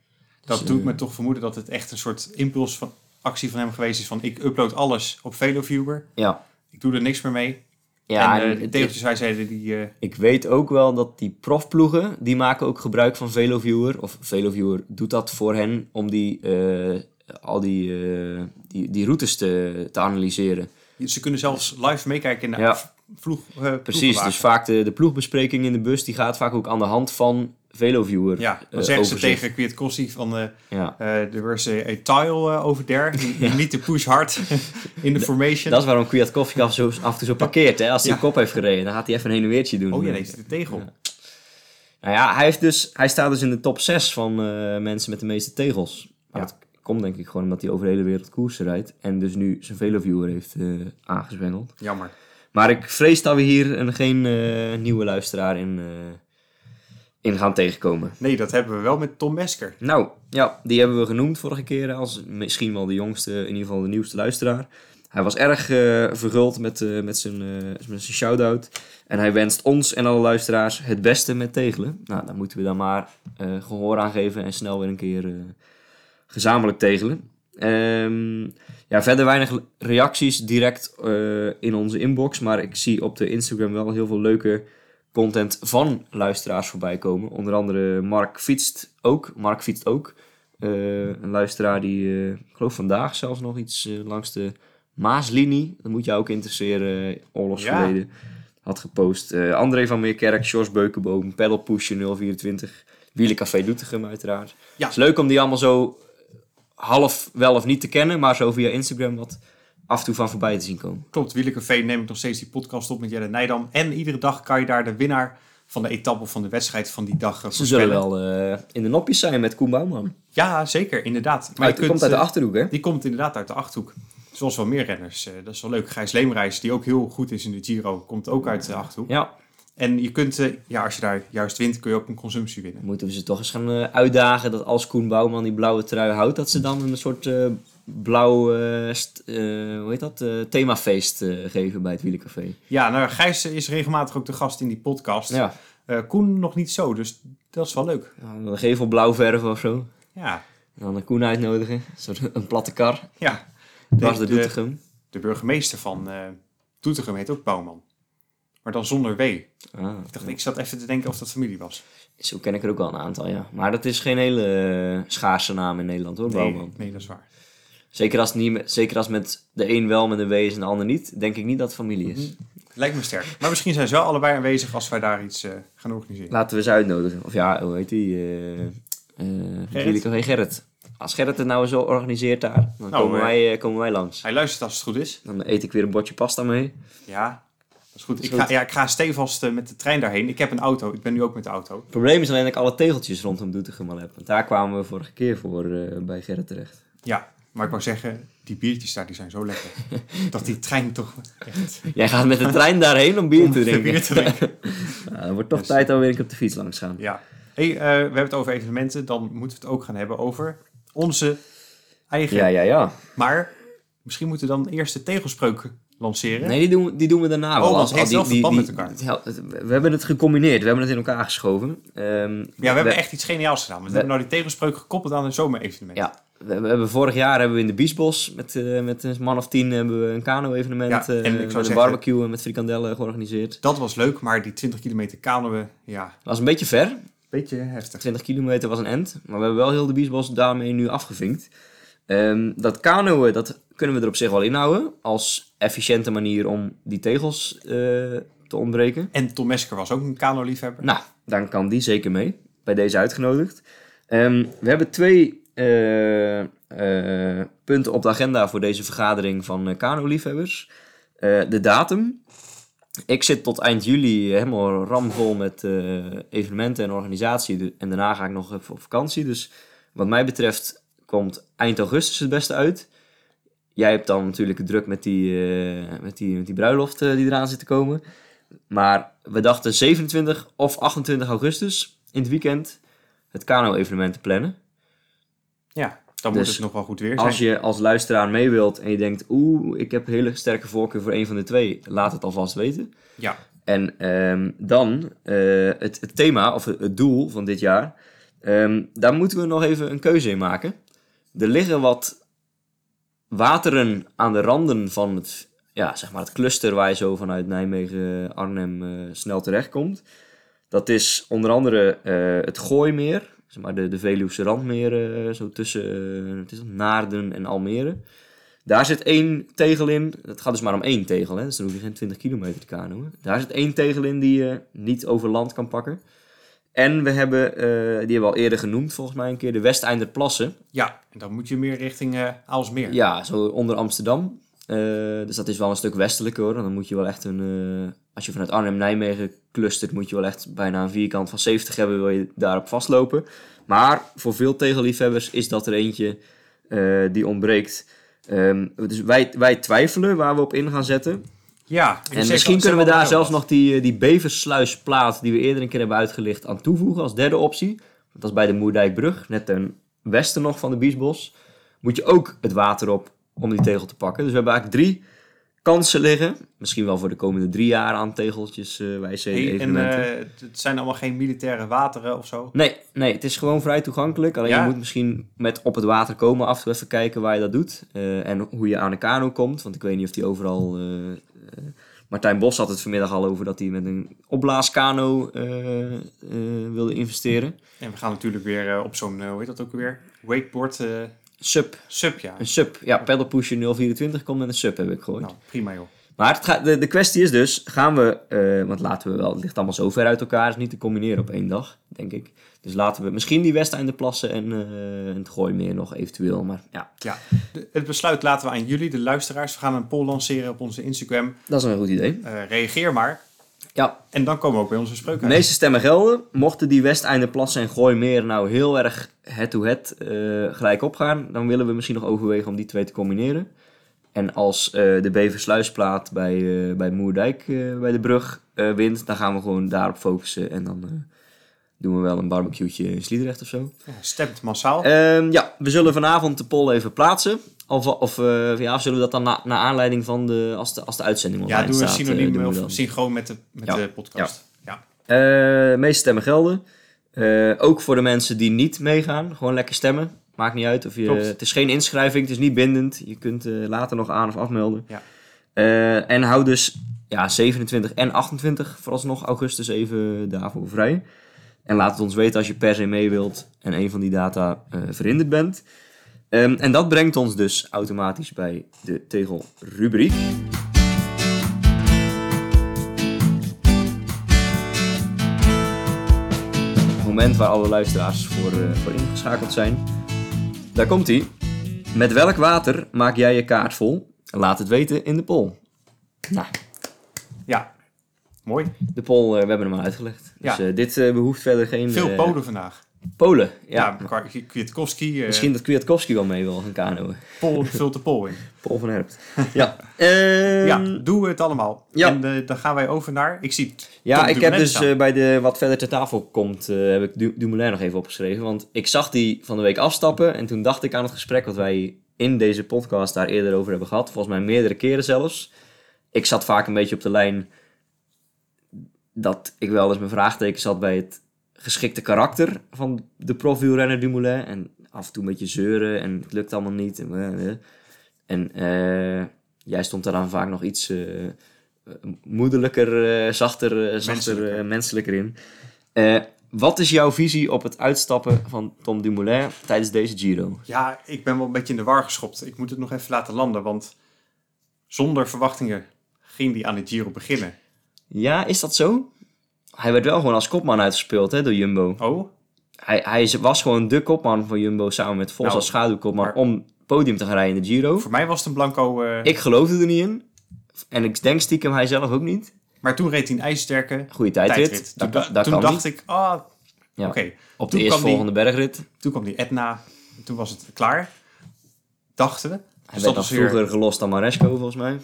Speaker 2: Dat
Speaker 1: Dus,
Speaker 2: doet
Speaker 1: eh,
Speaker 2: me toch vermoeden dat het echt een soort impuls van actie van hem geweest is van ik upload alles op VeloViewer.
Speaker 1: Ja.
Speaker 2: Ik doe er niks meer mee.
Speaker 1: Ja,
Speaker 2: en
Speaker 1: en
Speaker 2: eh, de
Speaker 1: het-
Speaker 2: tegeltjes hij zeiden die... eh,
Speaker 1: Ik weet ook wel dat die profploegen, die maken ook gebruik van Veloviewer. Of Veloviewer doet dat voor hen om die, eh, al die, eh, die, die routes te, te analyseren.
Speaker 2: eh, ze kunnen zelfs live meekijken in de
Speaker 1: Ja.
Speaker 2: v- vloeg, eh,
Speaker 1: Precies,
Speaker 2: ploegenwagen.
Speaker 1: dus vaak de, de ploegbespreking in de bus, die gaat vaak ook aan de hand van Veloviewer.
Speaker 2: Ja, dan
Speaker 1: eh,
Speaker 2: zeggen ze
Speaker 1: overzicht.
Speaker 2: tegen Kwiatkowski van... eh,
Speaker 1: Ja.
Speaker 2: Eh, er was een een tile eh, over daar.
Speaker 1: *laughs*
Speaker 2: Niet te push hard in de formation.
Speaker 1: Dat is waarom Kwiatkowski af, zo- af en toe zo parkeert. Hè? Als hij
Speaker 2: Ja.
Speaker 1: een kop heeft gereden, dan gaat hij even een heen en weertje doen.
Speaker 2: Oh ja,
Speaker 1: Eh,
Speaker 2: nee, zit er tegel.
Speaker 1: Ja. Nou ja, hij, heeft dus, hij staat dus in de top 6 van eh, mensen met de meeste tegels. Maar
Speaker 2: Ja.
Speaker 1: dat komt denk ik gewoon omdat hij over de hele wereld koersen rijdt. En dus nu zijn Veloviewer heeft eh aangezwengeld.
Speaker 2: Jammer.
Speaker 1: Maar ik vrees dat we hier een, geen eh, nieuwe luisteraar in, eh, in gaan tegenkomen.
Speaker 2: Nee, dat hebben we wel met Tom Mesker.
Speaker 1: Nou, ja, die hebben we genoemd vorige keer als misschien wel de jongste, in ieder geval de nieuwste luisteraar. Hij was erg eh, verguld met, eh, met zijn, eh, met zijn shout-out. En hij wenst ons en alle luisteraars het beste met tegelen. Nou, daar moeten we dan maar eh, gehoor aan geven en snel weer een keer eh, gezamenlijk tegelen. Ehm, ja, verder weinig reacties direct eh, in onze inbox. Maar ik zie op de Instagram wel heel veel leuke content van luisteraars voorbij komen. Onder andere Mark fietst ook. Mark fietst ook. Eh, een luisteraar die, eh, ik geloof vandaag zelfs nog iets eh, langs de Maaslinie. Dat moet jou ook interesseren, eh, oorlogsverleden. Had gepost. Eh, André van Meerkerk, Jos Beukenboom, Pedalpusher 024, Wielencafé Doetinchem uiteraard.
Speaker 2: Ja.
Speaker 1: Het is leuk om die allemaal zo half wel of niet te kennen, maar zo via Instagram wat af en toe van voorbij te zien komen.
Speaker 2: Klopt, Wielencafé neem ik nog steeds die podcast op met Jelle Nijdam. En iedere dag kan je daar de winnaar van de etappe of van de wedstrijd van die dag eh,
Speaker 1: Ze zullen
Speaker 2: voorspellen.
Speaker 1: wel eh, in de nopjes zijn met Koen Bouwman.
Speaker 2: Ja, zeker, inderdaad.
Speaker 1: Maar
Speaker 2: je
Speaker 1: het
Speaker 2: kunt,
Speaker 1: komt uit de
Speaker 2: eh,
Speaker 1: Achterhoek, hè?
Speaker 2: Die komt inderdaad uit de Achterhoek. Zoals wel meer renners. Eh, dat is wel leuk. Gijs Leemreis, die ook heel goed is in de Giro, komt ook uit de Achterhoek.
Speaker 1: Ja,
Speaker 2: En je kunt, eh, ja, als je daar juist wint, kun je ook een consumptie winnen.
Speaker 1: moeten we ze toch eens gaan eh, uitdagen dat als Koen Bouwman die blauwe trui houdt, dat ze dan een soort eh, blauw, eh, st- eh, hoe heet dat, eh, themafeest eh, geven bij het Wielencafé.
Speaker 2: Ja, nou, Gijs is regelmatig ook de gast in die podcast.
Speaker 1: Ja,
Speaker 2: Eh, Koen nog niet zo, dus dat is wel leuk.
Speaker 1: dan een gevel blauw verven of zo.
Speaker 2: Ja,
Speaker 1: En dan een Koen uitnodigen, een soort- een platte kar,
Speaker 2: ja.
Speaker 1: dwars
Speaker 2: de,
Speaker 1: door
Speaker 2: de,
Speaker 1: Doetinchem.
Speaker 2: de burgemeester van eh Doetinchem heet ook Bouwman. Maar dan zonder W. Ik
Speaker 1: Ah,
Speaker 2: dacht, ik zat even te denken of dat familie was.
Speaker 1: zo ken ik er ook wel een aantal, ja. Maar dat is geen hele eh, schaarse naam in Nederland hoor,
Speaker 2: Nee,
Speaker 1: Bouwman.
Speaker 2: nee, dat is waar.
Speaker 1: Zeker als, het niet, met- zeker als met de een wel met een W is en de ander niet, denk ik niet dat het familie is.
Speaker 2: Lijkt me sterk. Maar misschien zijn ze wel allebei aanwezig als wij daar iets eh, gaan organiseren.
Speaker 1: Laten we ze uitnodigen. Of ja, hoe heet die? eh eh Gerrit. Gerrit. Als Gerrit het nou zo organiseert daar, dan
Speaker 2: Nou,
Speaker 1: komen,
Speaker 2: eh,
Speaker 1: wij, eh, komen wij langs.
Speaker 2: Hij luistert als het goed is.
Speaker 1: Dan eet ik weer een bordje pasta mee.
Speaker 2: Ja, dat is goed. Ik
Speaker 1: goed.
Speaker 2: ga, ja, ik ga stevast eh, met de trein daarheen. Ik heb een auto. Ik ben nu ook met de auto.
Speaker 1: Het probleem is alleen dat ik alle tegeltjes rondom Doetinchem al heb. Want daar kwamen we vorige keer voor eh, bij Gerrit terecht.
Speaker 2: Ja, maar ik wou zeggen, die biertjes daar die zijn
Speaker 1: *laughs*
Speaker 2: zo lekker. dat die trein toch echt
Speaker 1: Jij gaat met de trein daarheen om bier te drinken.
Speaker 2: bier te drinken.
Speaker 1: *laughs* Nou, het wordt toch tijd dat we weer een keer op de fiets langs gaan.
Speaker 2: Ja. hey, eh, we hebben het over evenementen. Dan moeten we het ook gaan hebben over onze eigen.
Speaker 1: Ja, ja, ja.
Speaker 2: Maar misschien moeten we dan eerst de tegelspreuk lanceren.
Speaker 1: Nee, die doen, we- die doen we daarna wel.
Speaker 2: Oh, want
Speaker 1: Als-
Speaker 2: het heeft
Speaker 1: die-
Speaker 2: wel
Speaker 1: die-
Speaker 2: verband
Speaker 1: die-
Speaker 2: met elkaar.
Speaker 1: die- ja, het- we hebben het gecombineerd. We hebben het in elkaar geschoven. Ehm,
Speaker 2: Ja, we hebben echt iets geniaals gedaan. Want we hebben nou die tegelspreuk gekoppeld aan een zomerevenement.
Speaker 1: Ja, we, we hebben vorig jaar hebben we in de Biesbos met, eh, met een man of tien hebben we een kano-evenement
Speaker 2: Ja,
Speaker 1: eh
Speaker 2: en ik zou
Speaker 1: met een
Speaker 2: zeggen-
Speaker 1: barbecue en met frikandellen georganiseerd.
Speaker 2: Dat was leuk, maar die 20 kilometer kanoën, ja,
Speaker 1: was een beetje ver,
Speaker 2: beetje heftig.
Speaker 1: 20 kilometer was een end, maar we hebben wel heel de Biesbos daarmee nu afgevinkt. Ehm, dat kanoën, dat kunnen we er op zich wel inhouden als efficiënte manier om die tegels eh, te ontbreken.
Speaker 2: En Tom Mesker was ook een kano-liefhebber.
Speaker 1: Nou, dan kan die zeker mee. Bij deze uitgenodigd. Ehm, we hebben twee eh, eh, punten op de agenda voor deze vergadering van eh Kano-liefhebbers. Eh, de datum. Ik zit tot eind juli helemaal ramvol met eh, evenementen en organisatie. De- En daarna ga ik nog even op vakantie. Dus wat mij betreft komt eind augustus het beste uit. Jij hebt dan natuurlijk het druk met die, eh, met die, met die bruiloft eh, die eraan zit te komen. Maar we dachten 27 of 28 augustus in het weekend het kano-evenement te plannen.
Speaker 2: Ja, dan
Speaker 1: Dus
Speaker 2: moet het nog wel goed weer zijn.
Speaker 1: Als je als luisteraar mee wilt en je denkt, oeh, ik heb hele sterke voorkeur voor een van de twee, laat het alvast weten.
Speaker 2: Ja,
Speaker 1: En ehm, dan eh, het, het thema of het, het doel van dit jaar, ehm, daar moeten we nog even een keuze in maken. Er liggen wat wateren aan de randen van het, ja, zeg maar het cluster waar je zo vanuit Nijmegen, Arnhem eh, snel terechtkomt. Dat is onder andere eh, het Gooimeer, zeg maar de, de Veluwse Randmeer, eh, zo tussen eh, wat is dat, Naarden en Almere. Daar zit één tegel in. Het gaat dus maar om één tegel, hè? dus dan hoef je geen 20 kilometer te kanoën. Daar zit één tegel in die je niet over land kan pakken. En we hebben, eh, die hebben we al eerder genoemd volgens mij een keer, de Westeinderplassen.
Speaker 2: ja, en dan moet je meer richting eh Aalsmeer.
Speaker 1: Ja, zo onder Amsterdam. Eh, dus dat is wel een stuk westelijker hoor. Dan moet je wel echt een. eh, als je vanuit Arnhem-Nijmegen clustert, moet je wel echt bijna een vierkant van 70 hebben, wil je daarop vastlopen. Maar voor veel tegelliefhebbers is dat er eentje eh, die ontbreekt. Ehm, dus wij, wij twijfelen waar we op in gaan zetten.
Speaker 2: Ja, ik moet
Speaker 1: En
Speaker 2: zeggen,
Speaker 1: misschien
Speaker 2: ze
Speaker 1: kunnen we
Speaker 2: hebben
Speaker 1: daar
Speaker 2: wel
Speaker 1: zelfs
Speaker 2: wat.
Speaker 1: nog die, eh, die beversluisplaat die we eerder een keer hebben uitgelicht aan toevoegen als derde optie. Want dat is bij de Moerdijkbrug, net ten westen nog van de Biesbos. Moet je ook het water op om die tegel te pakken. Dus we hebben eigenlijk drie kansen liggen. Misschien wel voor de komende drie jaar aan tegeltjes, eh wij
Speaker 2: Hey, en
Speaker 1: evenementen.
Speaker 2: eh, het zijn allemaal geen militaire wateren of zo.
Speaker 1: Nee, nee, het is gewoon vrij toegankelijk. Alleen
Speaker 2: Ja.
Speaker 1: je moet misschien met op het water komen af en toe even kijken waar je dat doet. Eh, en hoe je aan de kano komt. Want ik weet niet of die overal... eh, eh, Martijn Bos had het vanmiddag al over dat hij met een opblaaskano eh, eh, wilde investeren.
Speaker 2: En we gaan natuurlijk weer eh, op zo'n, eh, hoe heet dat ook weer? Wakeboard eh,
Speaker 1: Sub.
Speaker 2: sub, ja.
Speaker 1: Een sub. Ja, pedalpusher 024 komt met een sub, heb ik gehoord.
Speaker 2: Nou, prima joh.
Speaker 1: Maar het gaat- de, de kwestie is dus, gaan we, eh, want laten we wel, het ligt allemaal zo ver uit elkaar, is niet te combineren op één dag, denk ik. Dus laten we misschien die Westeinderplassen en, eh, en het Gooimeer nog eventueel, maar ja,
Speaker 2: Ja. De- het besluit laten we aan jullie, de luisteraars. We gaan een poll lanceren op onze Instagram.
Speaker 1: dat is een goed idee.
Speaker 2: Eh, reageer maar.
Speaker 1: Ja.
Speaker 2: En dan komen we ook bij onze spreuk
Speaker 1: De
Speaker 2: uit.
Speaker 1: meeste stemmen gelden. Mochten die Westeinderplassen en Gooimeer nou heel erg head-to-head eh, gelijk opgaan, dan willen we misschien nog overwegen om die twee te combineren. En als eh, de Beversluisplaat bij, eh, bij Moerdijk, eh, bij de brug, eh, wint, dan gaan we gewoon daarop focussen. En dan eh, doen we wel een barbecue'tje in Sliedrecht of zo.
Speaker 2: Ja, stemt massaal.
Speaker 1: Ehm, ja, we zullen vanavond de poll even plaatsen. Of, of eh, ja, of zullen we dat dan na, naar aanleiding van de, als de, als de uitzending
Speaker 2: ja,
Speaker 1: online
Speaker 2: doen we
Speaker 1: staat, eh,
Speaker 2: synoniem
Speaker 1: doen we
Speaker 2: of
Speaker 1: dat.
Speaker 2: synchroon met de, met
Speaker 1: Ja.
Speaker 2: de podcast. Ja.
Speaker 1: Eh, meeste stemmen gelden. Eh, ook voor de mensen die niet meegaan. Gewoon lekker stemmen. Maakt niet uit. Of je,
Speaker 2: Klopt.
Speaker 1: het is geen inschrijving. Het is niet bindend. Je kunt eh, later nog aan of afmelden.
Speaker 2: Ja.
Speaker 1: Eh, en hou dus ja, 27 en 28 vooralsnog augustus even daarvoor vrij. En laat het ons weten als je per se mee wilt. En een van die data eh, verhinderd bent. Ehm, en dat brengt ons dus automatisch bij de tegelrubriek. Het moment waar alle luisteraars voor, eh, voor ingeschakeld zijn. Daar komt hij. Met welk water maak jij je kaart vol? Laat het weten in de poll. Nou,
Speaker 2: Ja. Mooi.
Speaker 1: de poll, eh, we hebben hem al uitgelegd. Dus
Speaker 2: Ja.
Speaker 1: eh, dit eh, behoeft verder geen...
Speaker 2: Veel
Speaker 1: eh,
Speaker 2: Polen vandaag.
Speaker 1: Polen, ja.
Speaker 2: Ja, Kwa- Kwiatkowski, eh,
Speaker 1: Misschien dat Kwiatkowski wel mee wil gaan kanoën.
Speaker 2: Pol vult de Pol in.
Speaker 1: Paul van Herpt. Ja. Ehm,
Speaker 2: Ja, doen we het allemaal.
Speaker 1: ja.
Speaker 2: En eh, dan gaan wij over naar... Ik zie
Speaker 1: Ja,
Speaker 2: Tom
Speaker 1: ik heb
Speaker 2: Dumoulin
Speaker 1: dus
Speaker 2: staan.
Speaker 1: eh, bij de wat verder ter tafel komt, eh, heb ik Du- Dumoulin nog even opgeschreven. Want ik zag die van de week afstappen en toen dacht ik aan het gesprek wat wij in deze podcast daar eerder over hebben gehad. Volgens mij meerdere keren zelfs. Ik zat vaak een beetje op de lijn dat ik wel eens mijn vraagtekens had bij het geschikte karakter van de profielrenner Dumoulin. En af en toe een beetje zeuren en het lukt allemaal niet. En, eh, eh. en eh, jij stond daar dan vaak nog iets... eh, moedelijker, eh, zachter, eh, zachter menselijker,
Speaker 2: Menselijker.
Speaker 1: menselijker in. Eh, wat is jouw visie op het uitstappen van Tom Dumoulin tijdens deze Giro?
Speaker 2: Ja, ik ben wel een beetje in de war geschopt. Ik moet het nog even laten landen, want zonder verwachtingen ging die aan de Giro beginnen.
Speaker 1: Ja, is dat zo? Hij werd wel gewoon als kopman uitgespeeld hè, door Jumbo.
Speaker 2: Oh,
Speaker 1: Hij, hij is- was gewoon de kopman van Jumbo samen met Vos
Speaker 2: Nou,
Speaker 1: als schaduwkopman
Speaker 2: maar-
Speaker 1: om podium te gaan rijden in de Giro.
Speaker 2: voor mij was het een blanco. eh,
Speaker 1: Ik geloofde er niet in. En ik denk stiekem hij zelf ook niet.
Speaker 2: Maar toen reed hij een ijssterke
Speaker 1: Goede tijdrit.
Speaker 2: tijdrit.
Speaker 1: Daar
Speaker 2: Toen,
Speaker 1: kan-
Speaker 2: da-
Speaker 1: daar
Speaker 2: toen
Speaker 1: kan
Speaker 2: dacht ik, ah, oké.
Speaker 1: Ja. Op de
Speaker 2: Toen kwam die-
Speaker 1: eerstvolgende bergrit.
Speaker 2: Toen kwam die Etna, toen was het klaar. Dachten we. Dus
Speaker 1: Hij
Speaker 2: dat
Speaker 1: werd al
Speaker 2: was weer-
Speaker 1: vroeger gelost dan Maresco volgens mij.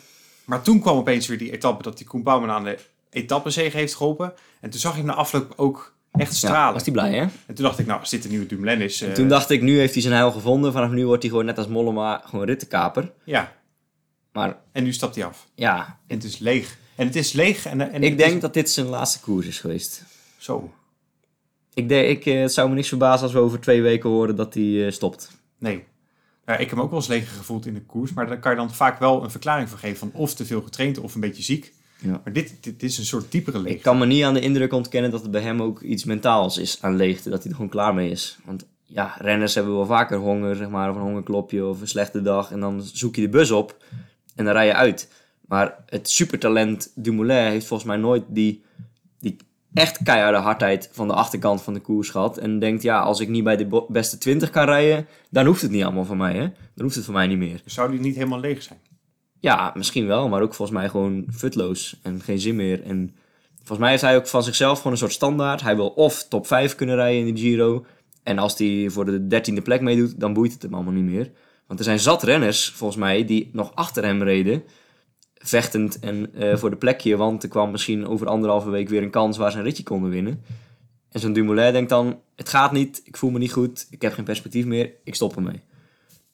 Speaker 2: Maar toen kwam opeens weer die etappe dat die Koen Bouwman aan de etappezege heeft geholpen. En toen zag ik hem na afloop ook echt
Speaker 1: Ja,
Speaker 2: stralen.
Speaker 1: was hij blij hè?
Speaker 2: En toen dacht ik, nou, als dit de nieuwe Dumoulin is... eh,
Speaker 1: Toen dacht ik, nu heeft hij zijn heil gevonden. Vanaf nu wordt hij gewoon net als Mollema gewoon rittenkaper.
Speaker 2: Ja,
Speaker 1: Maar
Speaker 2: en nu stapt hij af.
Speaker 1: ja,
Speaker 2: En het is leeg. En het is leeg. En, en
Speaker 1: ik
Speaker 2: het is-
Speaker 1: denk dat dit zijn laatste koers is geweest.
Speaker 2: Zo.
Speaker 1: Ik denk, ik, eh, het zou me niks verbazen als we over twee weken horen dat hij eh, stopt.
Speaker 2: Nee. Nou, ik heb me ook wel eens leeg gevoeld in de koers. Maar daar kan je dan vaak wel een verklaring voor geven. Van of te veel getraind of een beetje ziek.
Speaker 1: Ja.
Speaker 2: Maar dit, dit is een soort diepere leeg.
Speaker 1: Ik kan me niet aan de indruk ontkennen dat het bij hem ook iets mentaals is aan leegte. Dat hij er gewoon klaar mee is. Want ja, renners hebben wel vaker honger, zeg maar, of een hongerklopje of een slechte dag. En dan zoek je de bus op en dan rij je uit. Maar het supertalent Dumoulin heeft volgens mij nooit die, die echt keiharde hardheid van de achterkant van de koers gehad. En denkt, ja, als ik niet bij de bo- beste 20 kan rijden, dan hoeft het niet allemaal van mij, hè. Dan hoeft het van mij niet meer.
Speaker 2: Dus Zou die niet helemaal leeg zijn?
Speaker 1: Ja, misschien wel, maar ook volgens mij gewoon futloos en geen zin meer. En volgens mij heeft hij ook van zichzelf gewoon een soort standaard. Hij wil of top 5 kunnen rijden in de Giro. En als hij voor de dertiende plek meedoet, dan boeit het hem allemaal niet meer. Want er zijn zat renners, volgens mij, die nog achter hem reden. Vechtend en eh, voor de plekje, want er kwam misschien over anderhalve week weer een kans waar ze een ritje konden winnen. En zo'n Dumoulin denkt dan, het gaat niet, ik voel me niet goed, ik heb geen perspectief meer, ik stop ermee.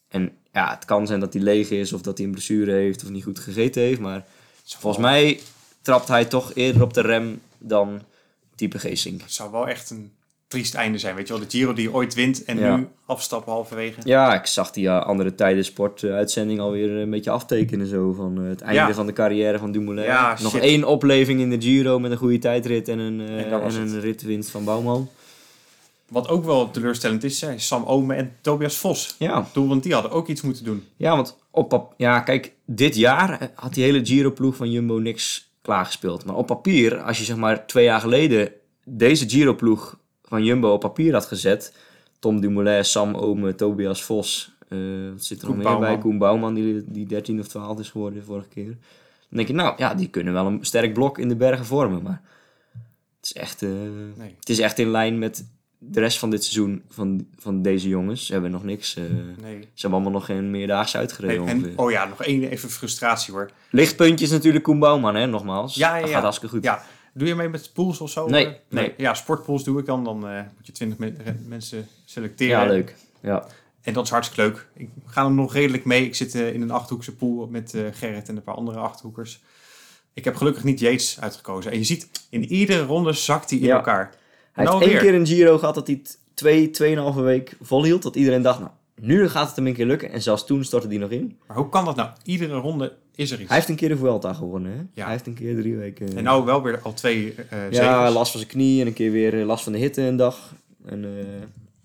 Speaker 1: En ja, het kan zijn dat hij leeg is of dat hij een blessure heeft of niet goed gegeten heeft. Maar volgens mij trapt hij toch eerder op de rem dan type Geesink.
Speaker 2: Het zou wel echt een triest einde zijn. Weet je wel, de Giro die je ooit wint en
Speaker 1: Ja.
Speaker 2: nu afstappen halverwege.
Speaker 1: Ja, ik zag die eh, andere tijden sportuitzending alweer een beetje aftekenen zo van eh, het einde
Speaker 2: Ja.
Speaker 1: van de carrière van Dumoulin.
Speaker 2: Ja,
Speaker 1: Nog
Speaker 2: shit.
Speaker 1: één opleving in de Giro met een goede tijdrit en een, eh,
Speaker 2: En dat
Speaker 1: en
Speaker 2: was
Speaker 1: een
Speaker 2: het.
Speaker 1: ritwinst van Bouwman.
Speaker 2: Wat ook wel teleurstellend is, zijn Sam Omen en Tobias Vos.
Speaker 1: Ja,
Speaker 2: Doel, want die hadden ook iets moeten doen.
Speaker 1: ja want op pap- ja, kijk, dit jaar eh, had die hele Giro-ploeg van Jumbo niks klaargespeeld. Maar op papier, als je zeg maar twee jaar geleden deze Giro-ploeg van Jumbo op papier had gezet. Tom Dumoulin, Sam Ome, Tobias Vos. eh, wat zit er
Speaker 2: Koen
Speaker 1: nog meer bij?
Speaker 2: Bouwman.
Speaker 1: Koen Bouwman, die, die 13 of 12 is geworden de vorige keer. Dan denk je, nou ja, die kunnen wel een sterk blok in de bergen vormen. Maar het is echt, eh,
Speaker 2: Nee.
Speaker 1: het is echt in lijn met de rest van dit seizoen van, van deze jongens. Ze hebben nog niks. eh,
Speaker 2: Nee.
Speaker 1: ze hebben allemaal nog geen meerdaagse uitgereden.
Speaker 2: Nee,
Speaker 1: ongeveer.
Speaker 2: en, oh ja, nog één even frustratie hoor.
Speaker 1: Lichtpuntje is natuurlijk Koen Bouwman, hè, nogmaals.
Speaker 2: Ja, ja,
Speaker 1: Dat
Speaker 2: ja.
Speaker 1: gaat hartstikke goed.
Speaker 2: Ja, doe je mee met pools of zo?
Speaker 1: Nee,
Speaker 2: Eh,
Speaker 1: nee.
Speaker 2: Ja, sportpools doe ik dan. Dan eh, moet je twintig mensen selecteren.
Speaker 1: Ja, leuk. Ja.
Speaker 2: En dat is hartstikke leuk. Ik ga er nog redelijk mee. Ik zit eh, in een achthoekse pool met eh, Gerrit en een paar andere achthoekers. Ik heb gelukkig niet Yates uitgekozen. En je ziet, in iedere ronde zakt hij in
Speaker 1: Ja.
Speaker 2: elkaar.
Speaker 1: Hij
Speaker 2: Nou
Speaker 1: heeft één
Speaker 2: weer.
Speaker 1: keer een Giro gehad dat hij het twee, tweeënhalve week volhield. Dat iedereen dacht, nou, nu gaat het hem een keer lukken. En zelfs toen stortte hij nog in.
Speaker 2: Maar hoe kan dat nou? Iedere ronde is er iets.
Speaker 1: Hij heeft een keer de Vuelta gewonnen, hè?
Speaker 2: Ja.
Speaker 1: Hij heeft een keer drie weken...
Speaker 2: En nou wel weer al twee eh
Speaker 1: ja,
Speaker 2: zegers.
Speaker 1: last van zijn knie en een keer weer eh, last van de hitte een dag. En, eh,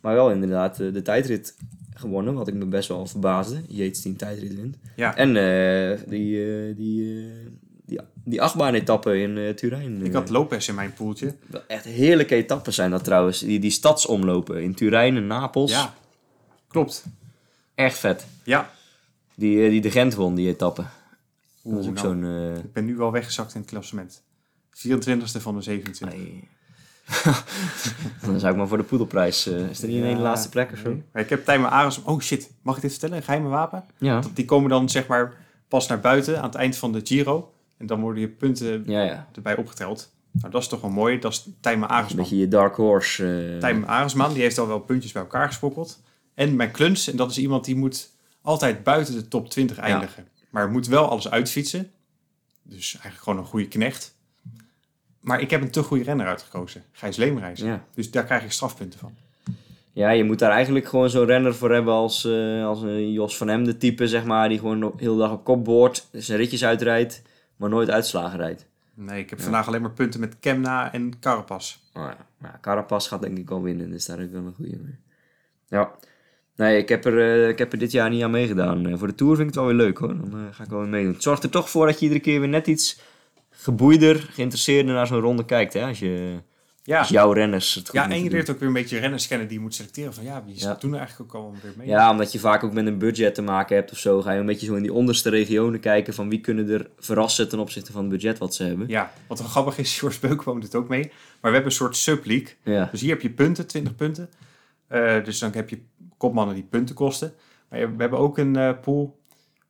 Speaker 1: maar wel inderdaad eh, de tijdrit gewonnen, wat ik me best wel verbaasde. Jeets die een tijdrit wint.
Speaker 2: Ja.
Speaker 1: En eh, die, eh, die, eh, die, die achtbaan-etappe in eh, Turijn.
Speaker 2: Ik
Speaker 1: eh,
Speaker 2: had Lopez in mijn poeltje.
Speaker 1: wel Echt heerlijke etappes zijn dat trouwens. Die, die stadsomlopen in Turijn en Napels.
Speaker 2: Ja, klopt.
Speaker 1: Echt vet.
Speaker 2: Ja.
Speaker 1: Die, eh, die de Gent won, die etappe. dat
Speaker 2: Oeh,
Speaker 1: is ook
Speaker 2: nou,
Speaker 1: zo'n... eh,
Speaker 2: ik ben nu wel weggezakt in het klassement. 24ste van de 27.
Speaker 1: nee. *laughs* Dan zou ik maar voor de poedelprijs... eh, is er niet in één
Speaker 2: Ja,
Speaker 1: laatste plek of zo?
Speaker 2: Maar Ik heb Tijmen Ares... Oh shit, mag ik dit vertellen? Een geheime wapen?
Speaker 1: Ja.
Speaker 2: Die komen dan zeg maar pas naar buiten aan het eind van de Giro. En dan worden je punten
Speaker 1: Ja, ja.
Speaker 2: erbij opgeteld. Nou, dat is toch wel mooi. Dat is Tijmen
Speaker 1: Een
Speaker 2: Aresman.
Speaker 1: beetje je dark horse. eh,
Speaker 2: Tijmen Aresman, die heeft al wel puntjes bij elkaar gespokkeld. En mijn kluns, en dat is iemand die moet altijd buiten de top 20 eindigen. Maar moet wel alles uitfietsen. Dus eigenlijk gewoon een goede knecht. Maar ik heb een te goede renner uitgekozen. Gijs Leemreis.
Speaker 1: Ja.
Speaker 2: Dus daar krijg ik strafpunten van.
Speaker 1: ja, je moet daar eigenlijk gewoon zo'n renner voor hebben als, eh, als een Jos van Hemde type, zeg maar. Die gewoon op- heel de dag op kop boort, zijn ritjes uitrijdt, maar nooit uitslagen rijdt.
Speaker 2: Nee, ik heb vandaag alleen maar punten met Kemna en Carapas.
Speaker 1: Oh ja. Nou, Carapaz gaat denk ik al winnen, dus daar heb ik wel een goede mee. Ja. Nee, ik heb, er, eh, ik heb er dit jaar niet aan meegedaan. Eh, voor de Tour vind ik het wel weer leuk hoor. Dan eh, ga ik wel weer meedoen. Het zorgt er toch voor dat je iedere keer weer net iets geboeider, geïnteresseerder naar zo'n ronde kijkt. Hè? Als, je,
Speaker 2: Ja,
Speaker 1: als jouw renners het goed
Speaker 2: ja en
Speaker 1: moeten
Speaker 2: je
Speaker 1: doen.
Speaker 2: leert ook weer een beetje renners kennen die je moet selecteren. Van ja, wie
Speaker 1: Ja.
Speaker 2: doen er eigenlijk ook allemaal weer mee?
Speaker 1: Ja, omdat je vaak ook met een budget te maken hebt of zo. Ga je een beetje zo in die onderste regionen kijken van wie kunnen er verrassen ten opzichte van het budget wat ze hebben.
Speaker 2: Ja, wat wel grappig is, *laughs* George Beukman doet ook mee. Maar we hebben een soort subleague.
Speaker 1: Ja.
Speaker 2: Dus hier heb je punten, 20 punten. Eh, dus dan heb je kopmannen die punten kosten. Maar je- we hebben ook een eh, pool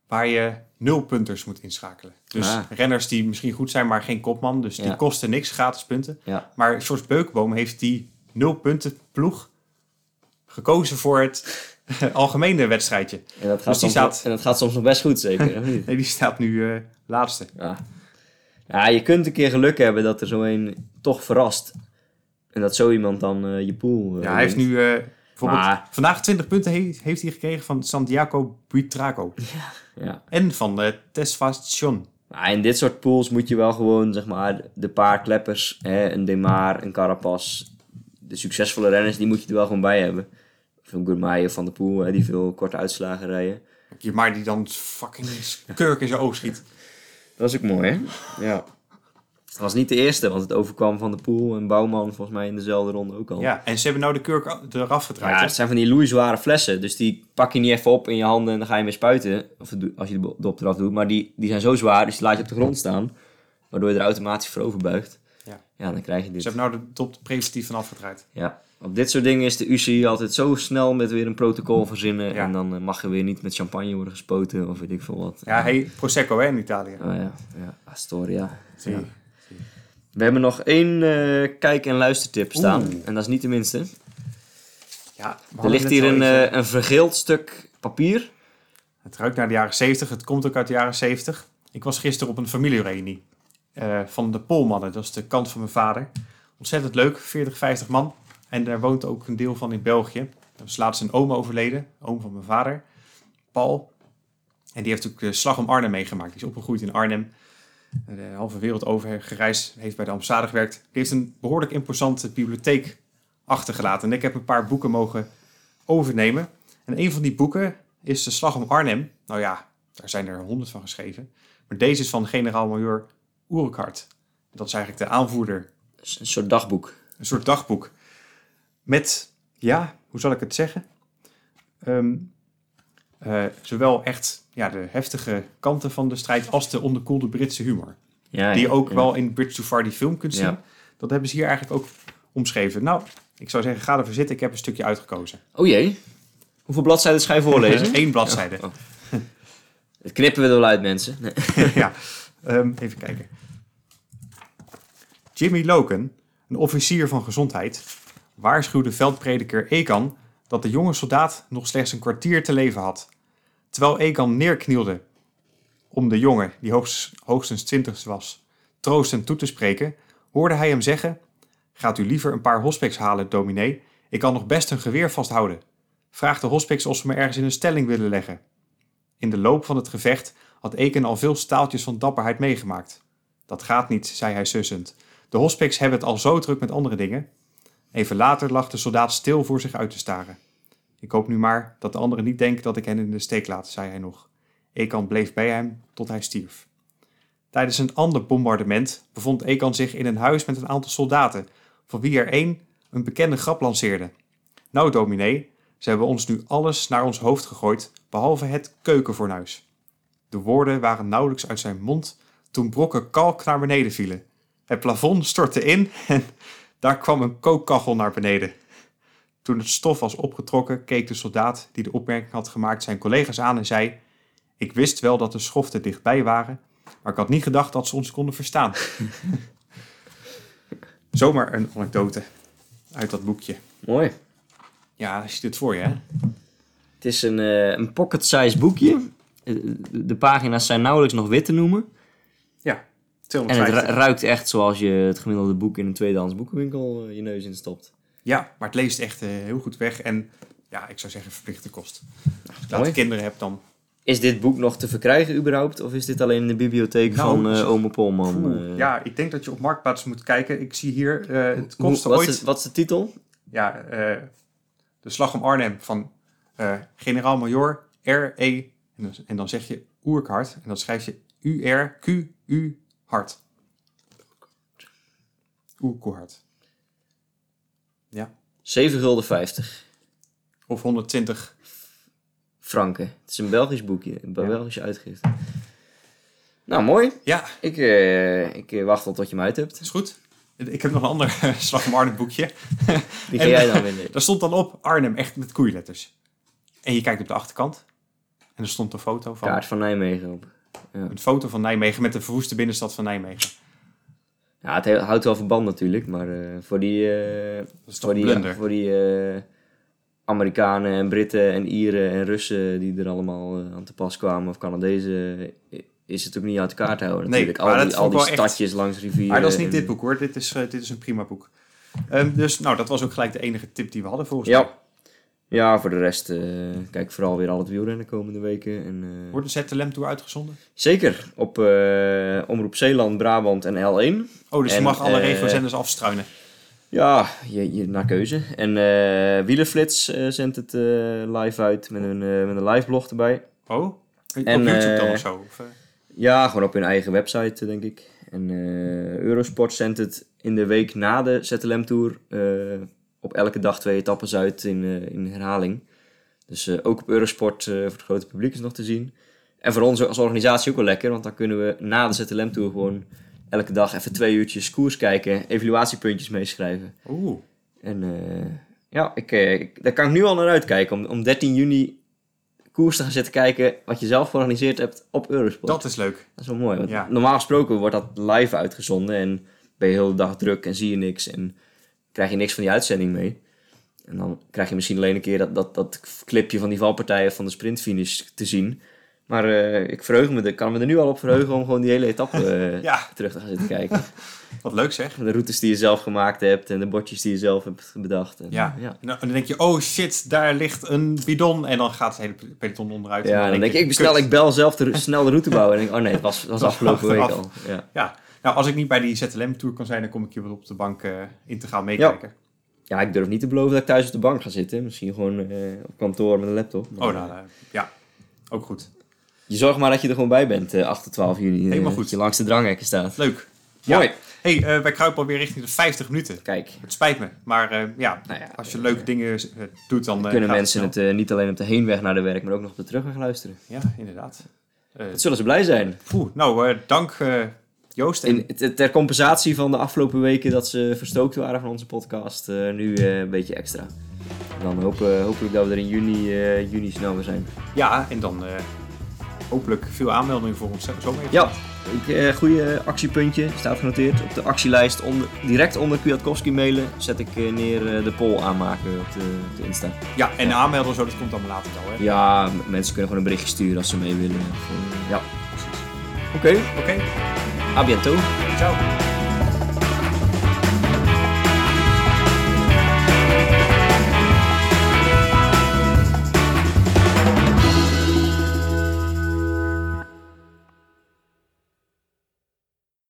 Speaker 2: waar je nulpunters moet inschakelen. Dus
Speaker 1: Ah.
Speaker 2: renners die misschien goed zijn, maar geen kopman. Dus
Speaker 1: Ja.
Speaker 2: die kosten niks, gratis punten.
Speaker 1: Ja.
Speaker 2: Maar George Beukboom heeft die nulpunten ploeg gekozen voor het *laughs* algemene wedstrijdje.
Speaker 1: En, dat gaat
Speaker 2: Dus die
Speaker 1: soms,
Speaker 2: staat-
Speaker 1: en dat gaat soms nog best goed
Speaker 2: *laughs*
Speaker 1: zeker. of niet?
Speaker 2: Nee, die staat nu eh, laatste.
Speaker 1: ja. ja, je kunt een keer geluk hebben dat er zo een toch verrast. En dat zo iemand dan eh, je pool... eh,
Speaker 2: Ja, hij heeft
Speaker 1: wint.
Speaker 2: nu eh, bijvoorbeeld
Speaker 1: Maar-
Speaker 2: vandaag 20 punten he- heeft hij gekregen van Santiago Buitrago.
Speaker 1: Ja.
Speaker 2: En van eh Tesfastion.
Speaker 1: Maar in dit soort pools moet je wel gewoon, zeg maar, de paar kleppers, hè, een Demar, een Carapaz, de succesvolle renners, die moet je er wel gewoon bij hebben. Of een Gourmay of Van der Poel, hè, die veel korte uitslagen rijden.
Speaker 2: Maar die dan fucking kurk in zijn oog schiet.
Speaker 1: Dat is ook mooi, hè? Ja. Het was niet de eerste, want het overkwam Van der Poel en Bouwman volgens mij in dezelfde ronde ook al.
Speaker 2: Ja, en ze hebben nou de kurk a- eraf
Speaker 1: Ja,
Speaker 2: gedraaid.
Speaker 1: het
Speaker 2: hè?
Speaker 1: zijn van die loeizware flessen, dus die pak je niet even op in je handen en dan ga je mee spuiten. Of het doe- als je de bo- dop eraf doet, maar die, die zijn zo zwaar, dus die laat je op de grond staan. Waardoor je er automatisch voor overbuigt.
Speaker 2: Ja.
Speaker 1: ja, dan krijg je dit.
Speaker 2: Ze hebben nou de top preventief van afgedraaid.
Speaker 1: Ja, op dit soort dingen is de UCI altijd zo snel met weer een protocol verzinnen.
Speaker 2: Ja.
Speaker 1: En dan eh, mag je weer niet met champagne worden gespoten of weet ik veel wat.
Speaker 2: Ja, hey, Prosecco hè, in Italië.
Speaker 1: Oh ja, ja, Astoria.
Speaker 2: Zie je.
Speaker 1: We hebben nog één eh, kijk- en luistertip staan.
Speaker 2: Oeh.
Speaker 1: En dat is niet de minste.
Speaker 2: Ja,
Speaker 1: Er
Speaker 2: we hadden
Speaker 1: ligt
Speaker 2: net
Speaker 1: hier
Speaker 2: al
Speaker 1: een,
Speaker 2: even-
Speaker 1: eh, een vergeeld stuk papier.
Speaker 2: Het ruikt naar de jaren 70. Het komt ook uit de jaren 70. Ik was gisteren op een familiereunie eh, van de Poolmannen. Dat is de kant van mijn vader. Ontzettend leuk, 40, 50 man. En daar woont ook een deel van in België. Er is laatst een oom overleden, oom van mijn vader, Paul. En die heeft ook de slag om Arnhem meegemaakt. Die is opgegroeid in Arnhem. De halve wereld over gereisd, heeft bij de ambassade gewerkt. Die heeft een behoorlijk imposante bibliotheek achtergelaten. En ik heb een paar boeken mogen overnemen. En een van die boeken is De Slag om Arnhem. Nou ja, daar zijn er honderd van geschreven. Maar deze is van generaal-major Oerkhart. Dat is eigenlijk de aanvoerder.
Speaker 1: S- Een soort dagboek.
Speaker 2: Een soort dagboek. Met, ja, hoe zal ik het zeggen? Ehm, eh, eh, zowel echt ja, de heftige kanten van de strijd als de onderkoelde Britse humor.
Speaker 1: Ja,
Speaker 2: Die je ook
Speaker 1: ja.
Speaker 2: wel in Bridge to Far die film kunt zien.
Speaker 1: Ja.
Speaker 2: Dat hebben ze hier eigenlijk ook omschreven. Nou, ik zou zeggen, ga ervoor zitten. Ik heb een stukje uitgekozen.
Speaker 1: Oh jee. Hoeveel bladzijden ga je
Speaker 2: *laughs*
Speaker 1: voorlezen?
Speaker 2: Eén bladzijde.
Speaker 1: Oh. Dat knippen we er wel uit, mensen. Nee. *laughs*
Speaker 2: *laughs* ja, ehm, even kijken. Jimmy Loken, een officier van gezondheid, waarschuwde veldprediker Ekan dat de jonge soldaat nog slechts een kwartier te leven had. Terwijl Ekan neerknielde om de jongen, die hoogst, hoogstens twintig was, troostend toe te spreken, hoorde hij hem zeggen: Gaat u liever een paar hospics halen, dominee? Ik kan nog best een geweer vasthouden. Vraag de hospics of ze me ergens in een stelling willen leggen. In de loop van het gevecht had Eken al veel staaltjes van dapperheid meegemaakt. Dat gaat niet, zei hij sussend. De hospics hebben het al zo druk met andere dingen. Even later lag de soldaat stil voor zich uit te staren. Ik hoop nu maar dat de anderen niet denken dat ik hen in de steek laat, zei hij nog. Ekan bleef bij hem tot hij stierf. Tijdens een ander bombardement bevond Ekan zich in een huis met een aantal soldaten, van wie er één een bekende grap lanceerde. Nou, dominee, ze hebben ons nu alles naar ons hoofd gegooid, behalve het keukenfornuis. De woorden waren nauwelijks uit zijn mond toen brokken kalk naar beneden vielen. Het plafond stortte in en *laughs* daar kwam een kookkachel naar beneden. Toen het stof was opgetrokken, keek de soldaat die de opmerking had gemaakt zijn collega's aan en zei: Ik wist wel dat de schoften dichtbij waren, maar ik had niet gedacht dat ze ons konden verstaan. *laughs* Zomaar een anekdote uit dat boekje.
Speaker 1: Mooi.
Speaker 2: Ja, je ziet het voor je, hè?
Speaker 1: Het is een, eh, een pocket-size boekje. Eh, De pagina's zijn nauwelijks nog wit te noemen.
Speaker 2: Ja,
Speaker 1: En het
Speaker 2: 250.
Speaker 1: ru- ruikt echt zoals je het gemiddelde boek in een tweedehands boekenwinkel eh, je neus in stopt.
Speaker 2: Ja, maar het leest echt eh, heel goed weg. En ja, ik zou zeggen verplichte kost. Als ik
Speaker 1: mooi.
Speaker 2: later kinderen heb dan...
Speaker 1: Is dit boek nog te verkrijgen überhaupt? Of is dit alleen in de bibliotheek
Speaker 2: Nou,
Speaker 1: van eh Ome Polman? eh?
Speaker 2: ja, ik denk dat je op Marktplaats moet kijken. Ik zie hier, eh, het
Speaker 1: Hoe-
Speaker 2: kostte
Speaker 1: wat,
Speaker 2: ooit...
Speaker 1: is, wat is de titel?
Speaker 2: Ja, eh, de slag om Arnhem van eh, generaal-major R.E. E, En, dan- en dan zeg je Oerkhart. En dan schrijf je U-R-Q-U hart. Oerkhart. Ja.
Speaker 1: 7,50 gulden
Speaker 2: Of 120.
Speaker 1: franken. Het is een Belgisch boekje, een Belgische uitgifte. Nou, mooi.
Speaker 2: Ja,
Speaker 1: Ik, eh, ik eh, wacht al tot je hem uit hebt.
Speaker 2: is goed. Ik heb nog een ander *laughs* eh, slag om Arnhem boekje.
Speaker 1: Die ga
Speaker 2: En- *laughs*
Speaker 1: jij dan winnen.
Speaker 2: Daar stond dan op Arnhem, echt met koeienletters. En je kijkt op de achterkant. En er stond een foto van.
Speaker 1: Kaart van Nijmegen op.
Speaker 2: Een foto van Nijmegen met de verwoeste binnenstad van Nijmegen.
Speaker 1: Ja, het he- houdt wel verband natuurlijk, maar eh, voor die, eh,
Speaker 2: is toch
Speaker 1: voor die,
Speaker 2: blunder?
Speaker 1: voor die eh, Amerikanen en Britten en Ieren en Russen die er allemaal eh, aan te pas kwamen, of Canadezen, eh, is het ook niet uit elkaar te houden
Speaker 2: Nee,
Speaker 1: natuurlijk. al
Speaker 2: maar dat
Speaker 1: die,
Speaker 2: vond
Speaker 1: al
Speaker 2: ik
Speaker 1: die
Speaker 2: wel echt-
Speaker 1: stadjes langs rivieren.
Speaker 2: Maar dat is niet
Speaker 1: en-
Speaker 2: dit boek hoor, dit is, eh, dit is een prima boek. Ehm, dus nou, dat was ook gelijk de enige tip die we hadden volgens mij.
Speaker 1: Ja. ja, voor de rest eh, kijk vooral weer al het wielrennen komende weken. En, eh,
Speaker 2: Wordt de ZLM toe uitgezonden?
Speaker 1: Zeker, op eh, Omroep Zeeland, Brabant en L1.
Speaker 2: Oh, dus je
Speaker 1: En,
Speaker 2: mag alle
Speaker 1: eh,
Speaker 2: regiozenders afstruinen.
Speaker 1: Ja, je, je, naar keuze. En eh Wielerflits eh, zendt het eh, live uit met een, eh, met een live blog erbij.
Speaker 2: Oh,
Speaker 1: en,
Speaker 2: op YouTube dan
Speaker 1: eh,
Speaker 2: of zo? Of, eh,
Speaker 1: Ja, gewoon op hun eigen website, eh, denk ik. En eh, Eurosport zendt het in de week na de ZLM Tour eh, op elke dag twee etappes uit in, eh, in herhaling. Dus eh, ook op Eurosport eh, voor het grote publiek is nog te zien. En voor ons als organisatie ook wel lekker, want dan kunnen we na de ZLM Tour gewoon elke dag even twee uurtjes koers kijken, evaluatiepuntjes meeschrijven.
Speaker 2: Oeh,
Speaker 1: En eh, ja, ik, eh, ik- daar kan ik nu al naar uitkijken. Om, om 13 juni koers te gaan zitten kijken wat je zelf georganiseerd hebt op Eurosport. Dat,
Speaker 2: dat is leuk.
Speaker 1: is wel mooi. Want
Speaker 2: Ja.
Speaker 1: Normaal gesproken wordt dat live uitgezonden en ben je de hele dag druk en zie je niks en krijg je niks van die uitzending mee. En dan krijg je misschien alleen een keer dat, dat, dat clipje van die valpartijen van de sprintfinish te zien. Maar eh, ik verheug me er, kan me er nu al op verheugen om gewoon die hele etappe
Speaker 2: *laughs*
Speaker 1: eh,
Speaker 2: Ja,
Speaker 1: terug te gaan zitten kijken.
Speaker 2: wat leuk zeg.
Speaker 1: De routes die je zelf gemaakt hebt en de bordjes die je zelf hebt bedacht. En,
Speaker 2: Ja.
Speaker 1: ja,
Speaker 2: Nou, en dan denk je, oh shit, daar ligt een bidon. En dan gaat het hele peloton onderuit. En
Speaker 1: Ja, dan denk ik,
Speaker 2: je,
Speaker 1: ik bestel,
Speaker 2: kut.
Speaker 1: ik bel zelf de, ru- snel de routebouwer. En denk, ik, oh nee, het was,
Speaker 2: *laughs*
Speaker 1: het was afgelopen week al.
Speaker 2: achteraf.
Speaker 1: Ja.
Speaker 2: Ja, nou als ik niet bij die ZLM-tour kan zijn, dan kom ik hier wel op de bank eh, integraal meekijken.
Speaker 1: ja, ik durf niet te beloven dat ik thuis op de bank ga zitten. Misschien gewoon eh, op kantoor met een laptop. Maar,
Speaker 2: Oh, nou, nou, ja, ook goed.
Speaker 1: Je zorgt maar dat je er gewoon bij bent, eh 8 tot 12 juni. eh,
Speaker 2: Helemaal goed.
Speaker 1: Dat je langs de dranghekken staat.
Speaker 2: Leuk. Ja.
Speaker 1: Mooi.
Speaker 2: hey, eh, wij kruipen alweer richting de 50 minuten.
Speaker 1: Kijk,
Speaker 2: Het spijt me, maar eh, ja,
Speaker 1: Nou ja,
Speaker 2: als je leuke dingen eh, doet, dan eh,
Speaker 1: kunnen
Speaker 2: gaat
Speaker 1: mensen het eh, niet alleen op de heenweg naar de werk, maar ook nog op de terugweg luisteren.
Speaker 2: snel. Ja, inderdaad. Eh,
Speaker 1: Dat zullen ze blij zijn.
Speaker 2: poeh, nou, eh, dank eh, Joost. En,
Speaker 1: In, t- ter compensatie van de afgelopen weken dat ze verstookt waren van onze podcast, eh, nu eh, een beetje extra. Dan hopen, hopelijk dat we er in juni, eh, juni snel weer zijn.
Speaker 2: ja, en dan eh, hopelijk veel aanmeldingen voor ons eh, zo- zomer.
Speaker 1: Ja, ik, eh, goede actiepuntje. Staat genoteerd op de actielijst. Onder, direct onder Kwiatkowski mailen zet ik eh, neer eh, de poll aanmaken op de, op de Insta.
Speaker 2: Ja, en aanmelden en zo, dat komt allemaal later wel. Hè?
Speaker 1: Ja, m- mensen kunnen gewoon een berichtje sturen als ze mee willen. Gewoon, Ja. Oké,
Speaker 2: Oké,
Speaker 1: à bientôt.
Speaker 2: ciao.